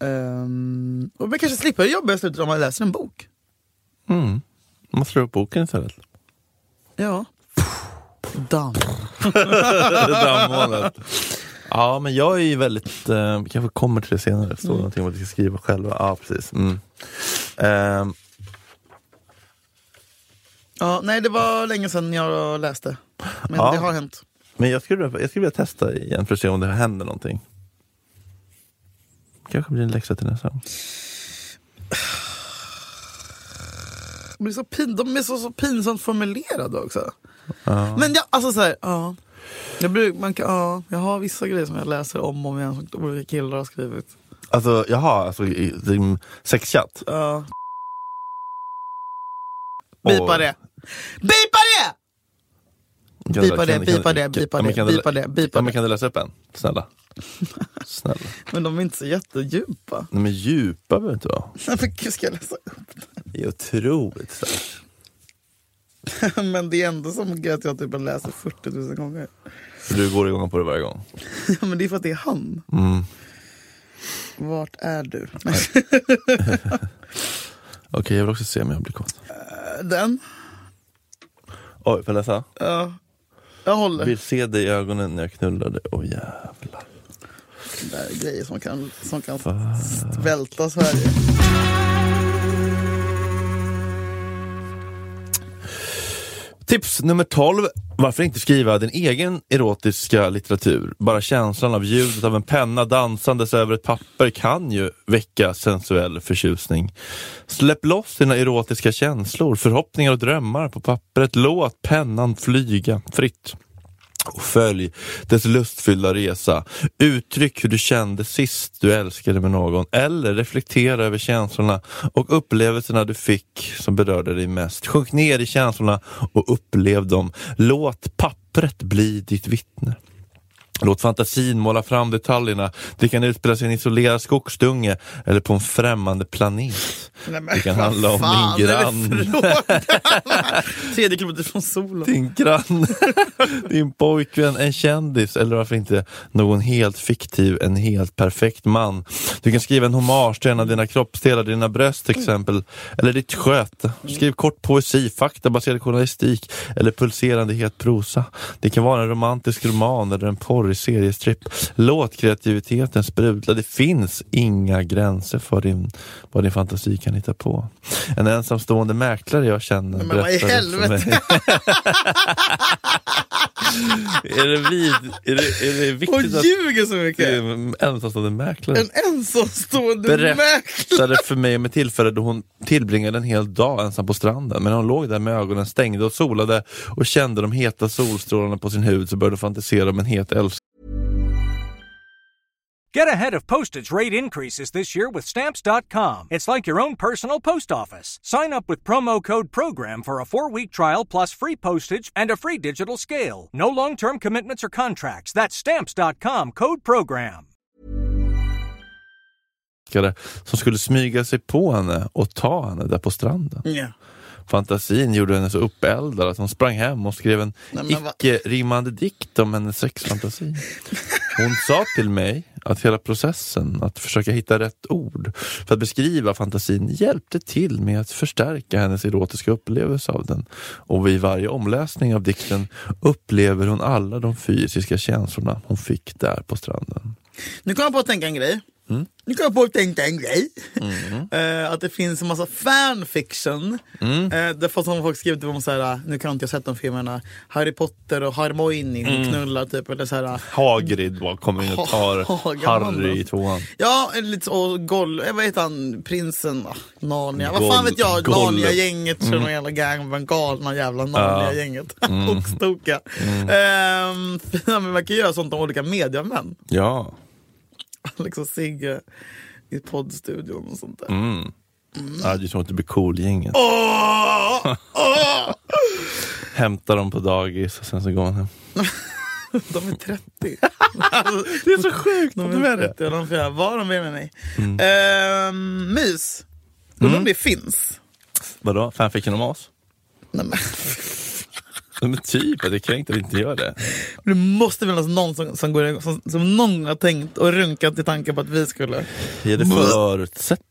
[SPEAKER 3] Um, och man kanske slipper jobba i slutet om man läser en bok.
[SPEAKER 2] Man slår upp boken istället.
[SPEAKER 3] Ja. Damm.
[SPEAKER 2] Det dammolnet. Ja men jag är ju väldigt, eh, vi kanske kommer till det senare,
[SPEAKER 3] Mm.
[SPEAKER 2] står det någonting om att vi ska skriva själva? Ja precis. Mm. Ehm,
[SPEAKER 3] Ja, nej, det var länge sedan jag läste. Men
[SPEAKER 2] Ja.
[SPEAKER 3] det har hänt.
[SPEAKER 2] men jag skulle, jag skulle vilja testa igen för att se om det händer någonting. Kanske blir en läxa till nästa gång.
[SPEAKER 3] De är så, pin, de är så, så pinsamt formulerade också. Men jag, alltså så här, ja. Jag, bruk, man kan, ja. jag har vissa grejer som jag läser om och om igen som olika killar har skrivit.
[SPEAKER 2] Alltså jaha, alltså, i- i- sexchatt?
[SPEAKER 3] Ja. Bipa
[SPEAKER 2] Och-
[SPEAKER 3] det! Bipa det!
[SPEAKER 2] Kan
[SPEAKER 3] Bipa
[SPEAKER 2] du-
[SPEAKER 3] det,
[SPEAKER 2] kan du-
[SPEAKER 3] bipa
[SPEAKER 2] kan-
[SPEAKER 3] det, bipa
[SPEAKER 2] ja, men
[SPEAKER 3] det,
[SPEAKER 2] kan du-
[SPEAKER 3] bipa det, bipa
[SPEAKER 2] ja, men
[SPEAKER 3] det.
[SPEAKER 2] Kan du läsa upp en? Snälla. Snälla.
[SPEAKER 3] Men de är inte så jättedjupa.
[SPEAKER 2] Nej men djupa behöver inte vara.
[SPEAKER 3] Men gud, ska jag läsa upp
[SPEAKER 2] Det är otroligt starkt.
[SPEAKER 3] det? Men det är ändå som att jag typ läser 40 000 gånger.
[SPEAKER 2] För du går igång på det varje gång.
[SPEAKER 3] Ja, men det är för att det är han.
[SPEAKER 2] Mm.
[SPEAKER 3] Vart är du?
[SPEAKER 2] Okej, jag vill också se om jag blir kåt.
[SPEAKER 3] Den?
[SPEAKER 2] Oj, får jag läsa?
[SPEAKER 3] Ja. Jag håller.
[SPEAKER 2] Vill se dig i ögonen när jag knullar dig. Åh jävlar.
[SPEAKER 3] Det här är grejer som kan, som kan välta Sverige.
[SPEAKER 2] Tips nummer 12. Varför inte skriva din egen erotiska litteratur? Bara känslan av ljudet av en penna dansandes över ett papper kan ju väcka sensuell förtjusning. Släpp loss dina erotiska känslor, förhoppningar och drömmar på pappret. Låt pennan flyga fritt. och följ dess lustfyllda resa. Uttryck hur du kände sist du älskade med någon eller reflektera över känslorna och upplevelserna du fick som berörde dig mest. Sjunk ner i känslorna och upplev dem. Låt pappret bli ditt vittne. Låt fantasin måla fram detaljerna. Det kan utspela sig i en isolerad skogsdunge eller på en främmande planet.
[SPEAKER 3] Nej, men
[SPEAKER 2] Det kan
[SPEAKER 3] vad
[SPEAKER 2] handla om
[SPEAKER 3] fan
[SPEAKER 2] min
[SPEAKER 3] är det
[SPEAKER 2] grann.
[SPEAKER 3] för fråga? Tredje kilometer från solen.
[SPEAKER 2] Din granne, din pojkvän, en kändis eller varför inte någon helt fiktiv, en helt perfekt man. Du kan skriva en hommage till en av dina kroppsdelar, dina bröst till exempel, eller ditt sköte. Skriv kort poesi, faktabaserad journalistik eller pulserande het prosa. Det kan vara en romantisk roman eller en porrig seriestripp. Låt kreativiteten sprudla. Det finns inga gränser för din, vad din fantasi kan hitta på. En ensamstående mäklare jag känner
[SPEAKER 3] Men vad i
[SPEAKER 2] berättade för
[SPEAKER 3] helvete?
[SPEAKER 2] mig- är det, vid, är det, är det
[SPEAKER 3] Hon
[SPEAKER 2] viktigt att
[SPEAKER 3] ljuger så
[SPEAKER 2] det är
[SPEAKER 3] mycket.
[SPEAKER 2] en ensamstående mäklare?
[SPEAKER 3] En ensamstående mäklare.
[SPEAKER 2] Berättade för mig om ett tillfälle då hon tillbringade en hel dag ensam på stranden. Men hon låg där med ögonen stängda och solade och kände de heta solstrålarna på sin hud så började hon fantisera om en het älskare
[SPEAKER 4] Get ahead of postage rate increases this year with Stamps.com. It's like your own personal post office. Sign up with promo code PROGRAM for a four week trial plus free postage and a free digital scale. No long term commitments or contracts. That's Stamps.com code PROGRAM.
[SPEAKER 2] som skulle smyga sig på henne och ta henne där på stranden.
[SPEAKER 3] Ja.
[SPEAKER 2] Fantasin gjorde henne så uppeldad att hon sprang hem och skrev en
[SPEAKER 3] Nej, men vad-
[SPEAKER 2] icke-rimmande dikt om hennes sexfantasi. Hon sa till mig att hela processen att försöka hitta rätt ord för att beskriva fantasin hjälpte till med att förstärka hennes erotiska upplevelse av den. Och vid varje omläsning av dikten upplever hon alla de fysiska känslorna hon fick där på stranden.
[SPEAKER 3] Nu kom jag på att tänka en grej.
[SPEAKER 2] Mm.
[SPEAKER 3] Nu kom jag på att tänka en grej. Eh, att det finns en massa fanfiction.
[SPEAKER 2] Mm.
[SPEAKER 3] Eh, där folk, som folk skrivit om så här, nu kan inte jag sett de filmerna, Harry Potter och Hermione mm. knullar typ. Eller så här,
[SPEAKER 2] Hagrid var- kommer in och tar
[SPEAKER 3] Ha- Hagamannen.
[SPEAKER 2] Harry i tvåan.
[SPEAKER 3] Ja, eller lite så, Goll, eh, vad heter han, prinsen, ah, Narnia, vad fan
[SPEAKER 2] Goll-
[SPEAKER 3] vet jag,
[SPEAKER 2] Gollum.
[SPEAKER 3] Narnia-gänget kör någon jävla gang, med galna jävla Narnia-gänget. och stoka. Ehm, ja, men man kan göra sånt om olika mediamän,
[SPEAKER 2] Ja.
[SPEAKER 3] Alex och Sigge i poddstudion och sånt där.
[SPEAKER 2] Ja, det är som att det blir cool-gänget.
[SPEAKER 3] Åh! Åh!
[SPEAKER 2] Hämtar dem på dagis och sen så går man hem.
[SPEAKER 3] De är 30.
[SPEAKER 2] Det är så sjukt
[SPEAKER 3] De
[SPEAKER 2] att
[SPEAKER 3] är 30 och de får göra vad de vill med mig. Ehm, mys, undrar om det finns?
[SPEAKER 2] Vadå? Fanfiction om oss?
[SPEAKER 3] Nej, men.
[SPEAKER 2] Nej, Men typ, det är kränkt att vi inte gör det.
[SPEAKER 3] Det måste finnas någon som, som, går, som, som någon har tänkt och runkat i tanken på att vi skulle...
[SPEAKER 2] Ja, det förutsätter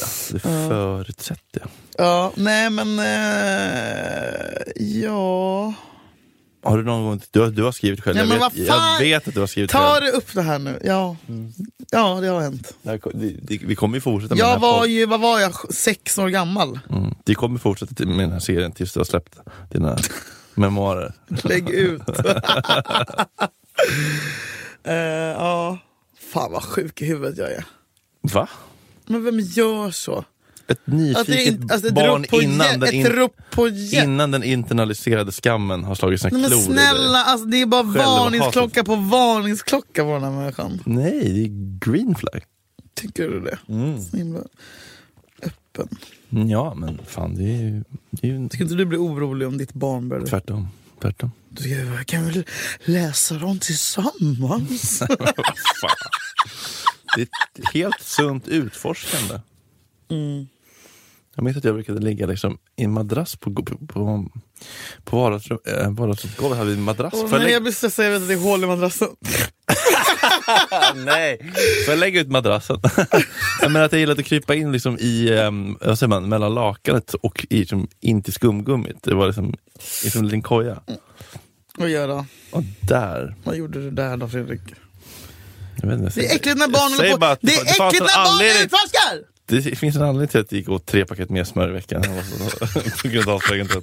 [SPEAKER 2] jag. Mm. Det förutsätter jag.
[SPEAKER 3] Ja, nej men... eh, ja...
[SPEAKER 2] Har du någon gång... Du har, du har skrivit själv.
[SPEAKER 3] Nej, men
[SPEAKER 2] jag,
[SPEAKER 3] vad
[SPEAKER 2] vet, jag
[SPEAKER 3] fan!
[SPEAKER 2] vet att du har skrivit
[SPEAKER 3] Ta
[SPEAKER 2] själv.
[SPEAKER 3] det upp det här nu. Ja, ja det har hänt.
[SPEAKER 2] Det här ko- det- det- Vi kommer ju fortsätta med
[SPEAKER 3] Jag
[SPEAKER 2] den här
[SPEAKER 3] var
[SPEAKER 2] podden.
[SPEAKER 3] ju, vad var jag, sex år gammal?
[SPEAKER 2] Mm. Vi kommer fortsätta till- med den här serien tills du har släppt dina memoarer.
[SPEAKER 3] Lägg ut. Eh, ja. Fan vad sjuk i huvudet jag är.
[SPEAKER 2] Va?
[SPEAKER 3] Men vem gör så?
[SPEAKER 2] Ett
[SPEAKER 3] det
[SPEAKER 2] nyfiket
[SPEAKER 3] inte- alltså, ett
[SPEAKER 2] barn
[SPEAKER 3] rop på
[SPEAKER 2] innan,
[SPEAKER 3] hjäl-
[SPEAKER 2] den
[SPEAKER 3] ett
[SPEAKER 2] in,
[SPEAKER 3] rop på hjälp.
[SPEAKER 2] innan den internaliserade skammen har slagit sina
[SPEAKER 3] Nej, men
[SPEAKER 2] klor i dig.
[SPEAKER 3] snälla, alltså, det är bara
[SPEAKER 2] Självhatet.
[SPEAKER 3] varningsklocka på varningsklocka på den här människan.
[SPEAKER 2] Nej, det är green flag.
[SPEAKER 3] Tycker du det?
[SPEAKER 2] Mm.
[SPEAKER 3] Så himla öppen.
[SPEAKER 2] Ja, men fan det är ju, det är ju
[SPEAKER 3] Tycker inte du blir orolig om ditt barn börjar...
[SPEAKER 2] tvärtom. tvärtom.
[SPEAKER 3] Du tycker, "Jag kan väl läsa dem tillsammans?
[SPEAKER 2] Fan. Det är ett helt sunt utforskande.
[SPEAKER 3] Mm.
[SPEAKER 2] Jag minns att jag brukade ligga liksom i en madrass på, på, på, på vardagsrum, eh, vardagsrumsgolvet. Hade vi en madrass.
[SPEAKER 3] Åh,
[SPEAKER 2] Får jag
[SPEAKER 3] nej,
[SPEAKER 2] lägga-
[SPEAKER 3] jag blir stressad, jag vet att det är hål i madrassen.
[SPEAKER 2] Nej, får jag lägga ut madrassen? jag menar att jag gillade att krypa in liksom i, ehm, vad säger man, mellan lakanet och i, liksom, in till skumgummit. Det var liksom, liksom en liten koja.
[SPEAKER 3] Vad gör då?
[SPEAKER 2] Och där,
[SPEAKER 3] Vad gjorde du där då Fredrik?
[SPEAKER 2] jag vet inte. jag
[SPEAKER 3] Det är
[SPEAKER 2] säger-
[SPEAKER 3] äckligt när
[SPEAKER 2] jag
[SPEAKER 3] barn håller
[SPEAKER 2] säger
[SPEAKER 3] på...
[SPEAKER 2] bara att
[SPEAKER 3] det är
[SPEAKER 2] fanns
[SPEAKER 3] äckligt
[SPEAKER 2] en
[SPEAKER 3] när barn
[SPEAKER 2] anledning-
[SPEAKER 3] utforskar!
[SPEAKER 2] Det finns en anledning till att det gick åt tre paket mer smör i veckan. än vad som- På grund av avsvägen till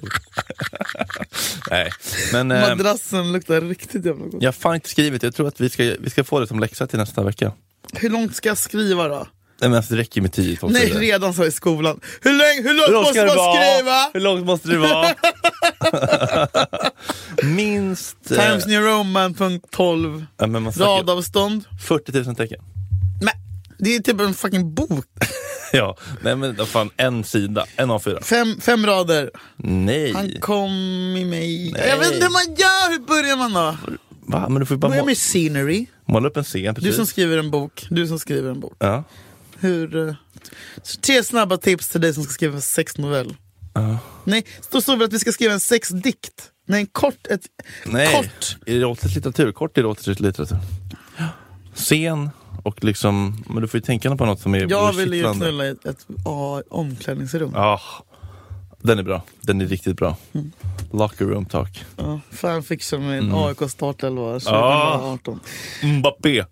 [SPEAKER 2] Nej, men eh,
[SPEAKER 3] Madrassen luktar riktigt jävla gott.
[SPEAKER 2] jag har fan inte skrivit. Jag tror att vi ska, vi ska få det som läxa till nästa vecka.
[SPEAKER 3] Hur långt ska jag skriva då?
[SPEAKER 2] Nej men alltså, det räcker med tio tolv
[SPEAKER 3] Nej,
[SPEAKER 2] sidor.
[SPEAKER 3] redan så i skolan. Hur, länge, hur långt
[SPEAKER 2] Hur långt
[SPEAKER 3] måste
[SPEAKER 2] ska
[SPEAKER 3] man
[SPEAKER 2] det vara?
[SPEAKER 3] skriva?
[SPEAKER 2] Hur långt måste det vara? Minst eh,
[SPEAKER 3] Times New Roman punkt 12.
[SPEAKER 2] ja, men man snackar-
[SPEAKER 3] Radavstånd.
[SPEAKER 2] 40 000 tecken.
[SPEAKER 3] Men det är typ en fucking bok.
[SPEAKER 2] Ja, nej men vad fan en sida, en av fyra.
[SPEAKER 3] Fem, fem rader.
[SPEAKER 2] Nej,
[SPEAKER 3] Han kom i mig. Jag vet inte hur man gör. Hur börjar man då?
[SPEAKER 2] va? Men du får ju bara
[SPEAKER 3] Börja
[SPEAKER 2] må-
[SPEAKER 3] med scenery.
[SPEAKER 2] måla upp en scen.
[SPEAKER 3] Du
[SPEAKER 2] Precis.
[SPEAKER 3] som skriver en bok. Du som skriver en bok.
[SPEAKER 2] Ja.
[SPEAKER 3] Hur... eh, så Tre snabba tips till dig som ska skriva en sexnovell. Nej, då står väl att vi ska skriva en sexdikt. Nej, en kort... Ett,
[SPEAKER 2] Nej,
[SPEAKER 3] Kort.
[SPEAKER 2] erotisk litteratur. Kort erotisk litteratur. Scen och liksom, men du får ju tänka på något som är
[SPEAKER 3] jag ville ju
[SPEAKER 2] kittlande.
[SPEAKER 3] knulla i ett, ett ja, omklädningsrum.
[SPEAKER 2] Ja, Ah, den är bra. Den är riktigt bra.
[SPEAKER 3] Mm.
[SPEAKER 2] Locker room talk.
[SPEAKER 3] Ja, fanfiction med en AIK startelva 2018.
[SPEAKER 2] Mbappé.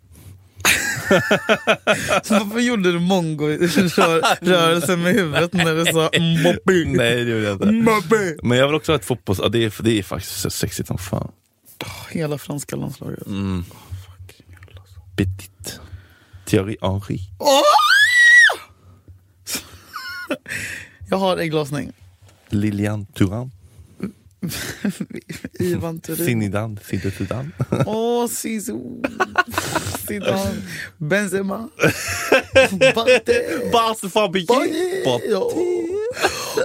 [SPEAKER 3] Så Varför gjorde du mongo-rörelsen med huvudet när du sa Mbappé?
[SPEAKER 2] Nej, det gjorde jag inte.
[SPEAKER 3] Mbappé!
[SPEAKER 2] Men jag vill också ha ett fotbolls... Ja, det, är, det är faktiskt så sexigt som fan.
[SPEAKER 3] Hela franska landslaget.
[SPEAKER 2] Petit. Thierry Henry.
[SPEAKER 3] Jag har ägglossning.
[SPEAKER 2] Lilian Thuram.
[SPEAKER 3] Ivan Turin.
[SPEAKER 2] Zinidan. Zidane.
[SPEAKER 3] Åh, Zizou. Zidane. Benzema. Batte.
[SPEAKER 2] Bas Fabier.
[SPEAKER 3] Ja.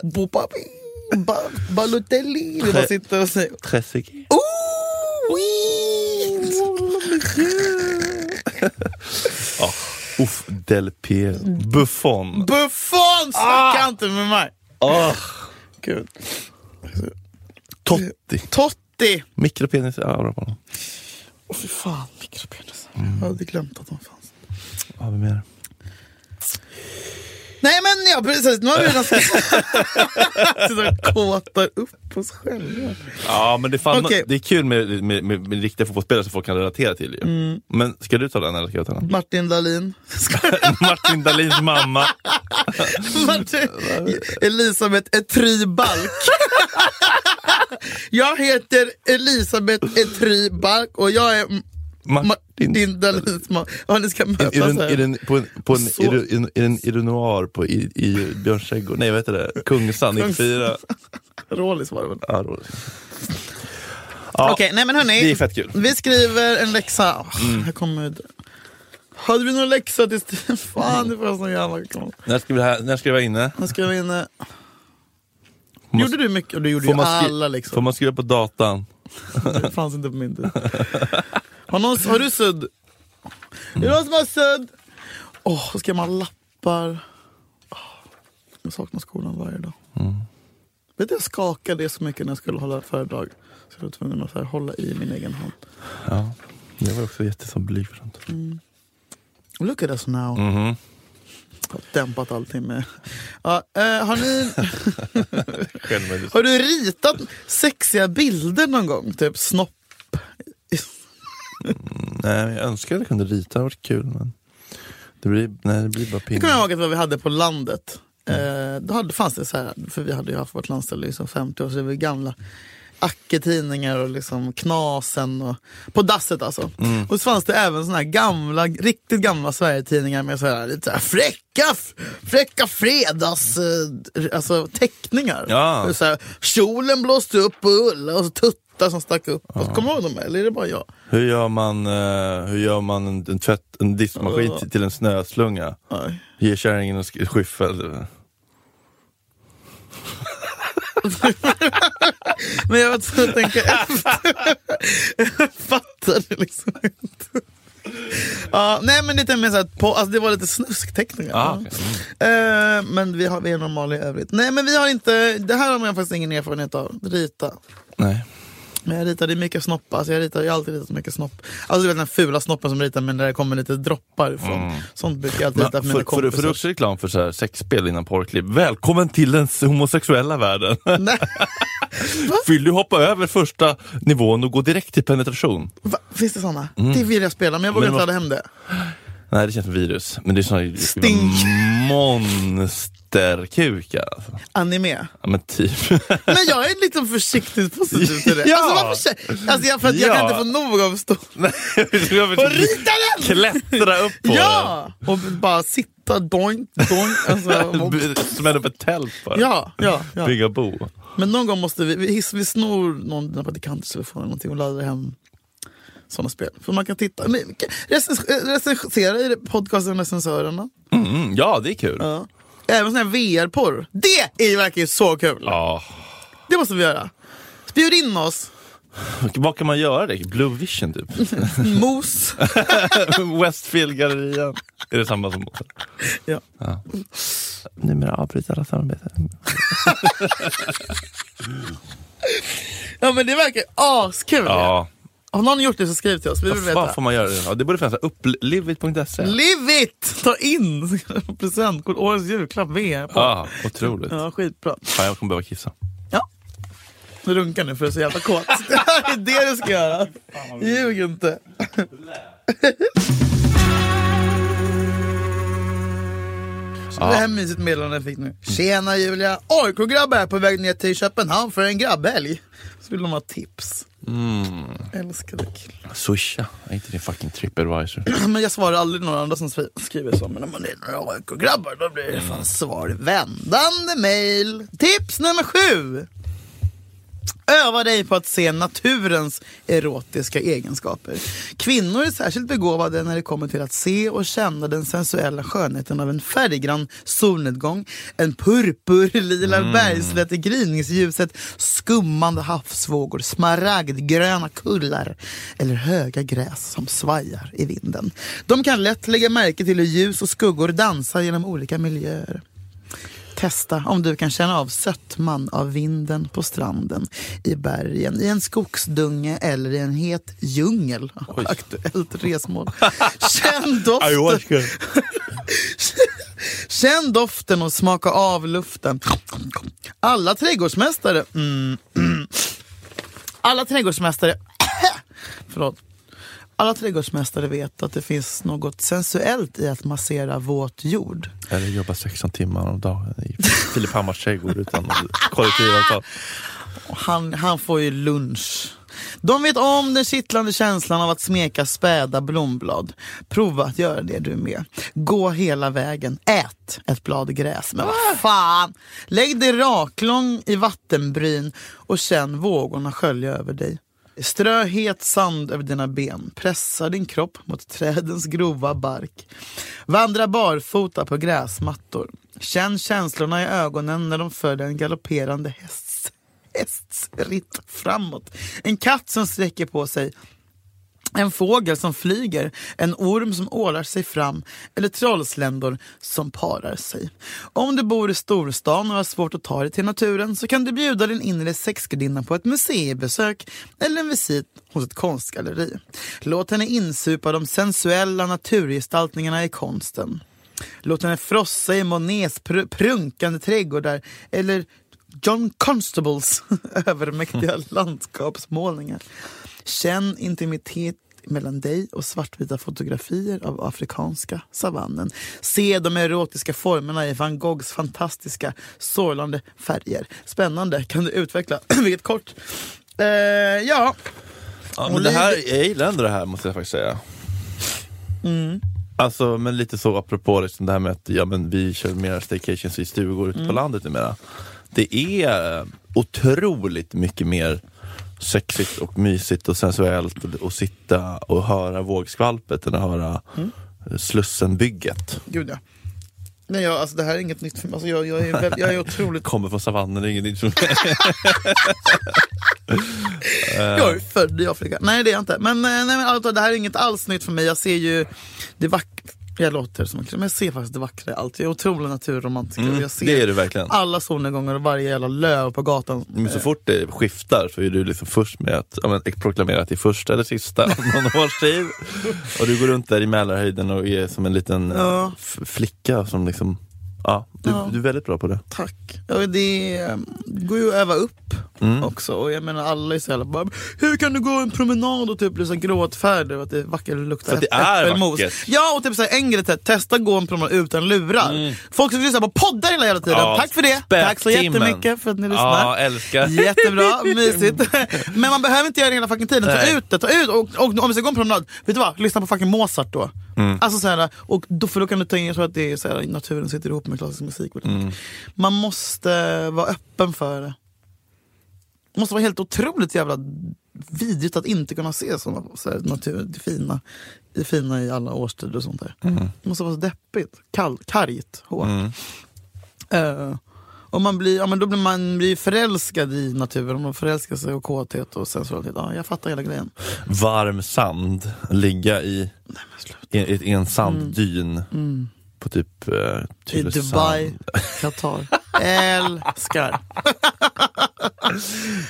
[SPEAKER 3] Bopapi. Ba Balotelli. Du bara sitter och säger
[SPEAKER 2] Trezeguet.
[SPEAKER 3] Oh, oui.
[SPEAKER 2] Uff. Del Pierre. Buffon.
[SPEAKER 3] Buffon! Snacka inte med mig!
[SPEAKER 2] Ah.
[SPEAKER 3] Gud.
[SPEAKER 2] Totti.
[SPEAKER 3] Totti!
[SPEAKER 2] Mikropenis. Ja, bra på honom.
[SPEAKER 3] Åh fy fan, mikropenisar. Jag hade glömt att de fanns.
[SPEAKER 2] Har vi mer?
[SPEAKER 3] Nej men ja, precis. Nu har vi redan Sitter och kåtar upp oss själva.
[SPEAKER 2] Ja, men det är, fan,
[SPEAKER 3] Okej.
[SPEAKER 2] det är kul med, med, med, med riktiga fotbollsspelare som folk kan relatera till. Ju.
[SPEAKER 3] Mm.
[SPEAKER 2] Men ska du ta den eller ska jag ta den?
[SPEAKER 3] Martin Dahlin.
[SPEAKER 2] Martin Dahlins mamma.
[SPEAKER 3] Martin, Elisabeth Etry Balk. Jag heter Elisabeth Etry Balk och jag är Martin Dahlins mamma. Ja, ni ska mötas
[SPEAKER 2] Är den,
[SPEAKER 3] här.
[SPEAKER 2] är den, på en, på en,
[SPEAKER 3] Så-
[SPEAKER 2] är du- är den, är den, är den noir på, i, i Björns trädgård? Nej, vad heter det? Kungsan,
[SPEAKER 3] Kungsan.
[SPEAKER 2] 94.
[SPEAKER 3] Rålis var det väl?
[SPEAKER 2] Ja, roligt. Ja,
[SPEAKER 3] Okej, nej men hörni.
[SPEAKER 2] Det är fett kul. Mm.
[SPEAKER 3] Vi skriver en läxa. Åh, Här kommer jag dö. Hade vi någon läxa till Stefan? Fan, det var så jävla kul.
[SPEAKER 2] När ska, vi här, när ska vi vara inne?
[SPEAKER 3] Nu ska vi in... eh,
[SPEAKER 2] man-
[SPEAKER 3] Gjorde du mycket? Du gjorde ju
[SPEAKER 2] skri-
[SPEAKER 3] alla liksom.
[SPEAKER 2] får
[SPEAKER 3] läxor.
[SPEAKER 2] man skriva på datan?
[SPEAKER 3] Det fanns inte på min tid. Har, någon, har du sudd?
[SPEAKER 2] Mm.
[SPEAKER 3] Är det någon som har sudd? Åh, så ska man ha lappar. Åh, Jag saknar skolan varje dag.
[SPEAKER 2] Mm.
[SPEAKER 3] Vet du, jag skakade så mycket när jag skulle hålla föredrag. Så jag var tvungen att så här, hålla i min egen hand.
[SPEAKER 2] Ja, jag var också jättesom blyg för sånt.
[SPEAKER 3] Look at us now.
[SPEAKER 2] Mm-hmm.
[SPEAKER 3] Har dämpat allting med... Ja, eh, har, ni,
[SPEAKER 2] Självmedicin.
[SPEAKER 3] har du ritat sexiga bilder någon gång? Typ snopp?
[SPEAKER 2] Nej, men jag önskar att jag kunde rita, det hade varit kul. Men det blir, nej, det blir bara
[SPEAKER 3] Jag kommer
[SPEAKER 2] pinne.
[SPEAKER 3] ihåg att vad vi hade på landet. Eh, då hade, fanns det så här, för vi hade ju haft vårt landställe i liksom 50 år, så det var ju gamla acketidningar och liksom Knasen och på dasset alltså. Och så fanns det även såna här gamla, riktigt gamla Sverigetidningar med så här, lite så här fräcka, fräcka fredags, eh, alltså teckningar.
[SPEAKER 2] Ja.
[SPEAKER 3] Och Så här, kjolen blåste upp på Ulla och så tuttar som stack upp. Och så, kommer du ihåg dem eller är det bara jag?
[SPEAKER 2] Hur gör man, eh, hur gör man en, en, tvätt, en diskmaskin till- till en snöslunga?
[SPEAKER 3] Nej.
[SPEAKER 2] Ge kärringen en sk- skyffel.
[SPEAKER 3] Men jag var tvungen att tänka efter. jag fattade liksom inte. Ja, nej men lite mer så här, på, alltså det var lite snuskteckningar.
[SPEAKER 2] Ah, okej. Mm.
[SPEAKER 3] Eh, men vi, har, vi är normala i övrigt. Nej men vi har inte, det här har man faktiskt ingen erfarenhet av. Rita.
[SPEAKER 2] Nej.
[SPEAKER 3] Men jag ritade mycket snopp, alltså jag, ritar, jag har alltid ritat mycket snopp. Alltså du vet den fula snoppen som ritar men där det kommer lite droppar från. Sånt brukar jag alltid
[SPEAKER 2] Mm. Men
[SPEAKER 3] rita för
[SPEAKER 2] Får du- får du
[SPEAKER 3] mina kompisar.
[SPEAKER 2] också reklam för så här sexspel innan porrklipp? Välkommen till den s- homosexuella världen!
[SPEAKER 3] Nej,
[SPEAKER 2] Vill du hoppa över första nivån och gå direkt till penetration?
[SPEAKER 3] va, finns det såna? Det vill jag spela men jag vågar
[SPEAKER 2] Mm. Men
[SPEAKER 3] inte
[SPEAKER 2] vad-
[SPEAKER 3] ladda hem det.
[SPEAKER 2] Nej, det känns som virus. Men det är såna
[SPEAKER 3] Stink.
[SPEAKER 2] monsterkukar. Alltså.
[SPEAKER 3] Anime.
[SPEAKER 2] Ja, men typ.
[SPEAKER 3] Men jag är lite försiktigt positiv till det.
[SPEAKER 2] Ja.
[SPEAKER 3] Alltså, varför, kä- alltså, jag, för att jag
[SPEAKER 2] Ja.
[SPEAKER 3] kan inte få nog av stå
[SPEAKER 2] Nej, jag vet
[SPEAKER 3] och
[SPEAKER 2] inte.
[SPEAKER 3] rita den!
[SPEAKER 2] Klättra upp på
[SPEAKER 3] Ja! Och bara sitta doink, doink. Alltså,
[SPEAKER 2] den. Smäll upp ett tält bara.
[SPEAKER 3] ja, ja, ja.
[SPEAKER 2] Bygga bo.
[SPEAKER 3] Men någon gång måste vi, vi, hiss- vi snor någon typ av dina predikanters telefon eller någonting och laddar hem sådana spel. För man kan titta, men, kan- recens- eh, recensera i podcasten Recensörerna.
[SPEAKER 2] Mm, ja, det är kul.
[SPEAKER 3] Ja. Även sån här VR-porr. Det är ju verkligen så kul!
[SPEAKER 2] Ja.
[SPEAKER 3] Det måste vi göra. Bjud in oss,
[SPEAKER 2] Vad kan man göra? det? Blue Vision typ?
[SPEAKER 3] mos.
[SPEAKER 2] Westfield-gallerian. Är det samma som...
[SPEAKER 3] ja.
[SPEAKER 2] Numera avbryter alla samarbeten.
[SPEAKER 3] ja men det verkar askul.
[SPEAKER 2] Ja.
[SPEAKER 3] Har någon gjort det så skriv till oss, vi vill
[SPEAKER 2] Vad fan
[SPEAKER 3] veta.
[SPEAKER 2] får man göra? det? Ja, det borde finnas upplivit.se.
[SPEAKER 3] Live it! Ta in presentkort, årets julklapp, VR. på.
[SPEAKER 2] Ja, otroligt.
[SPEAKER 3] Ja, skitbra.
[SPEAKER 2] Fan, jag kommer behöva kissa.
[SPEAKER 3] Ja. Du runkar nu för du är så jävla kåt. det här är det du ska göra. Ljug inte. Så Det här mysigt meddelande jag fick nu. Tjena Julia! AIK-grabbar är på väg ner till Köpenhamn för en grabbhelg. Så vill de ha tips.
[SPEAKER 2] Mm.
[SPEAKER 3] Älskade killar.
[SPEAKER 2] Swisha. Är inte din fucking tripadvisor.
[SPEAKER 3] Men jag svarar aldrig några andra som skri- skriver så. Men om man är några AIK-grabbar då blir det fan svar. Vändande mail. Tips nummer sju. Öva dig på att se naturens erotiska egenskaper. Kvinnor är särskilt begåvade när det kommer till att se och känna den sensuella skönheten av en färggrann solnedgång, en purpurlila bergslätt i gryningsljuset, skummande havsvågor, smaragdgröna kullar eller höga gräs som svajar i vinden. De kan lätt lägga märke till hur ljus och skuggor dansar genom olika miljöer. Testa om du kan känna av sötman av vinden på stranden, i bergen, i en skogsdunge eller i en het djungel. Aktuellt resmål. Känn doften. Känn doften och smaka av luften. Alla trädgårdsmästare mm, mm. Alla trädgårdsmästare Förlåt. Alla trädgårdsmästare vet att det finns något sensuellt i att massera våt jord.
[SPEAKER 2] Eller jobba 16 timmar om dagen i Filip Hammars trädgård utan kollektivavtal.
[SPEAKER 3] Han, han får ju lunch. De vet om den kittlande känslan av att smeka späda blomblad. Prova att göra det du med. Gå hela vägen. Ät ett blad gräs. Men vad fan! Lägg dig raklång i vattenbryn och känn vågorna skölja över dig. Strö het sand över dina ben. Pressa din kropp mot trädens grova bark. Vandra barfota på gräsmattor. Känn känslorna i ögonen när de följer en galopperande hästs hästs ritt framåt. En katt som sträcker på sig. En fågel som flyger, en orm som ålar sig fram eller trollsländor som parar sig. Om du bor i storstan och har svårt att ta dig till naturen så kan du bjuda din inre sexgudinna på ett museibesök eller en visit hos ett konstgalleri. Låt henne insupa de sensuella naturgestaltningarna i konsten. Låt henne frossa i Monets pr- prunkande trädgårdar eller John Constables övermäktiga landskapsmålningar. Känn intimitet mellan dig och svartvita fotografier av afrikanska savannen. Se de erotiska formerna i van Goghs fantastiska sorlande färger. Spännande, kan du utveckla? Vilket kort. Eh, ja,
[SPEAKER 2] Ja,
[SPEAKER 3] Och
[SPEAKER 2] men det här,
[SPEAKER 3] livet-
[SPEAKER 2] jag gillar ändå det här måste jag faktiskt säga. Alltså, men lite så apropå liksom det här med att ja, men vi kör mer staycations i stugor ute på landet numera. Det är eh, otroligt mycket mer sexigt och mysigt och sensuellt att- att sitta och höra vågskvalpet än att höra eh, Slussenbygget.
[SPEAKER 3] gud ja. Nej, jag, alltså, det här är inget nytt för mig. Alltså, jag, jag, är väl, jag är otroligt
[SPEAKER 2] Kommer från savannen, det är inget nytt för mig. Eh.
[SPEAKER 3] Jag är född i Afrika. Nej det är jag inte. Men, eh, nej, men alltså, det här är inget alls nytt för mig. Jag ser ju det vackra. Jag låter som en kille, men jag ser faktiskt det vackra i allt. Jag är otrolig naturromantiker. och jag ser
[SPEAKER 2] Mm, det är du verkligen.
[SPEAKER 3] alla solnedgångar och varje jävla löv på gatan. Eh,
[SPEAKER 2] Men så fort det skiftar så är du liksom först med att ja, men, proklamera att det är första eller sista om någon års tid. Och du går runt där i Mälarhöjden och är som en liten eh,
[SPEAKER 3] Ja.
[SPEAKER 2] f- flicka som liksom, ja, du, du är väldigt bra på det.
[SPEAKER 3] Tack. Ja, det eh, går ju att öva upp
[SPEAKER 2] Mm.
[SPEAKER 3] också. Och jag menar alla är så jävla bara, hur kan du gå en promenad och typ bli så gråtfärdig och att det är vackert och luktar
[SPEAKER 2] För att det är
[SPEAKER 3] äppelmos?
[SPEAKER 2] vackert.
[SPEAKER 3] Ja, och typ så här, en grej till, testa gå en promenad utan lurar. Folk som lyssnar på poddar hela jävla tiden.
[SPEAKER 2] Mm. Ja,
[SPEAKER 3] Tack för det. Tack så
[SPEAKER 2] späktimmen.
[SPEAKER 3] jättemycket för att ni lyssnar.
[SPEAKER 2] Ja, älskar.
[SPEAKER 3] Jättebra, mysigt. Men man behöver inte göra det hela fucking tiden. Ta
[SPEAKER 2] Nej.
[SPEAKER 3] ut det, ta ut och, och om vi ska gå en promenad, vet du vad? Lyssna på fucking Mozart då. Alltså så här, och då, för då kan du ta in, jag tror att det är så här, naturen sitter ihop med klassisk musik. väldigt mycket. Man måste vara öppen för det. Det måste vara helt otroligt jävla vidrigt att inte kunna se såna, så här, natur, det, fina, det fina i alla årstider och sånt där. Det måste vara så deppigt, kall, kargt, hårt. Eh, och man blir, ja, men då blir man blir förälskad i naturen, man förälskar sig och kåthet och sensualitet. Ja, jag fattar hela grejen.
[SPEAKER 2] Varm sand, ligga i,
[SPEAKER 3] Nej, men sluta. Mm.
[SPEAKER 2] i, i en sanddyn på typ eh,
[SPEAKER 3] I
[SPEAKER 2] Tylösand.
[SPEAKER 3] Dubai, Qatar. Älskar.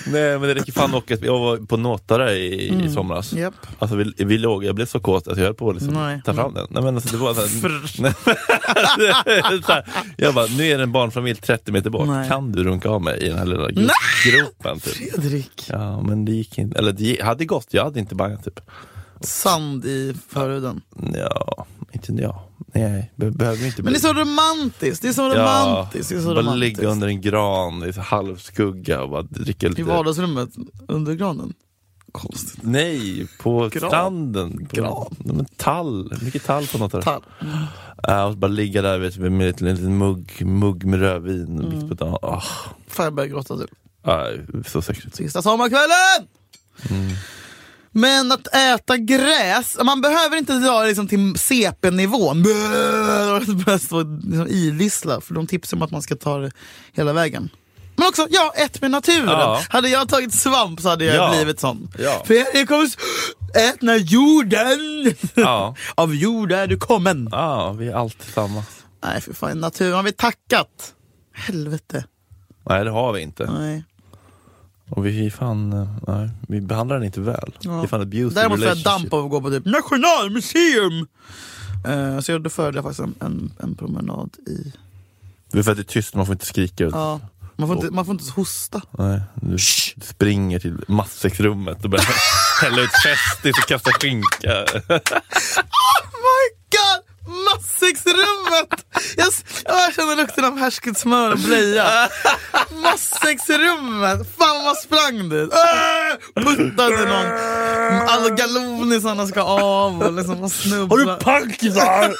[SPEAKER 2] Nej men det räcker fan dock att jag var på Nåtare i, i somras.
[SPEAKER 3] Mm. Japp.
[SPEAKER 2] Alltså vi, vi låg, jag blev så kåt att jag höll på att liksom
[SPEAKER 3] Nej.
[SPEAKER 2] ta fram den. Nej, men alltså, det var så här, nej, men- alltså, så här, jag bara, nu är det en barnfamilj 30 meter bort,
[SPEAKER 3] Nej.
[SPEAKER 2] kan du runka av mig i den här lilla gro- gropen? Typ.
[SPEAKER 3] Fredrik.
[SPEAKER 2] Ja men det gick inte, eller det gick- hade gått, jag hade inte bangat typ.
[SPEAKER 3] Sand i förhuden.
[SPEAKER 2] Ja, inte ja. Nej, be- behöver inte
[SPEAKER 3] Men det
[SPEAKER 2] bli.
[SPEAKER 3] är så romantiskt. Det är så romantiskt. det är så
[SPEAKER 2] bara
[SPEAKER 3] romantiskt.
[SPEAKER 2] ligga under en gran i så halvskugga och bara dricka lite...
[SPEAKER 3] I vardagsrummet under granen. Konstigt.
[SPEAKER 2] Nej, på
[SPEAKER 3] Gran.
[SPEAKER 2] stranden. På
[SPEAKER 3] Gran.
[SPEAKER 2] Nej, Men tall, mycket tall på något där.
[SPEAKER 3] Tall.
[SPEAKER 2] Ja, och så bara ligga där vet, du, med en liten mugg, mugg med rödvin mitt på dagen. Ah,
[SPEAKER 3] Fan jag börjar gråta typ. nu.
[SPEAKER 2] ah, så sexigt.
[SPEAKER 3] Sista sommarkvällen!
[SPEAKER 2] Mm.
[SPEAKER 3] Men att äta gräs, man behöver inte dra det liksom till CP-nivån. Börja stå och liksom idissla, för de tipsar om att man ska ta det hela vägen. Men också, ja, ett med naturen.
[SPEAKER 2] Ja.
[SPEAKER 3] Hade jag tagit svamp så hade jag
[SPEAKER 2] Ja.
[SPEAKER 3] blivit sån.
[SPEAKER 2] Ja.
[SPEAKER 3] För jag, jag kommer s- ätna jorden!
[SPEAKER 2] Ja.
[SPEAKER 3] Av jord är du kommen.
[SPEAKER 2] Ja, vi är alltid samma.
[SPEAKER 3] Nej, för fan, naturen har vi tackat. Helvete.
[SPEAKER 2] Nej, det har vi inte.
[SPEAKER 3] Nej.
[SPEAKER 2] Och vi, är fan, eh, nej, vi behandlar den inte väl. Det är fan abusive
[SPEAKER 3] Däremot får jag
[SPEAKER 2] relationship.
[SPEAKER 3] damp av att gå på typ Nationalmuseum! Eh, så jag, då föredrar jag faktiskt en, en, en promenad i...
[SPEAKER 2] Det är för att det är tyst, man får inte skrika ut.
[SPEAKER 3] Ja, man får inte, man får inte hosta. Oh
[SPEAKER 2] Nej, du springer till matsäcksrummet och börjar hälla ut Festis och kasta skinka.
[SPEAKER 3] My god! Matsäcksrummet! Jag, s- jag känner lukten av härsket smör och blöja. Matsäcksrummet! Fan vad man sprang dit. Ah! Puttade någon. Alla galonisarna ska av och liksom man snubblar.
[SPEAKER 2] pankisar?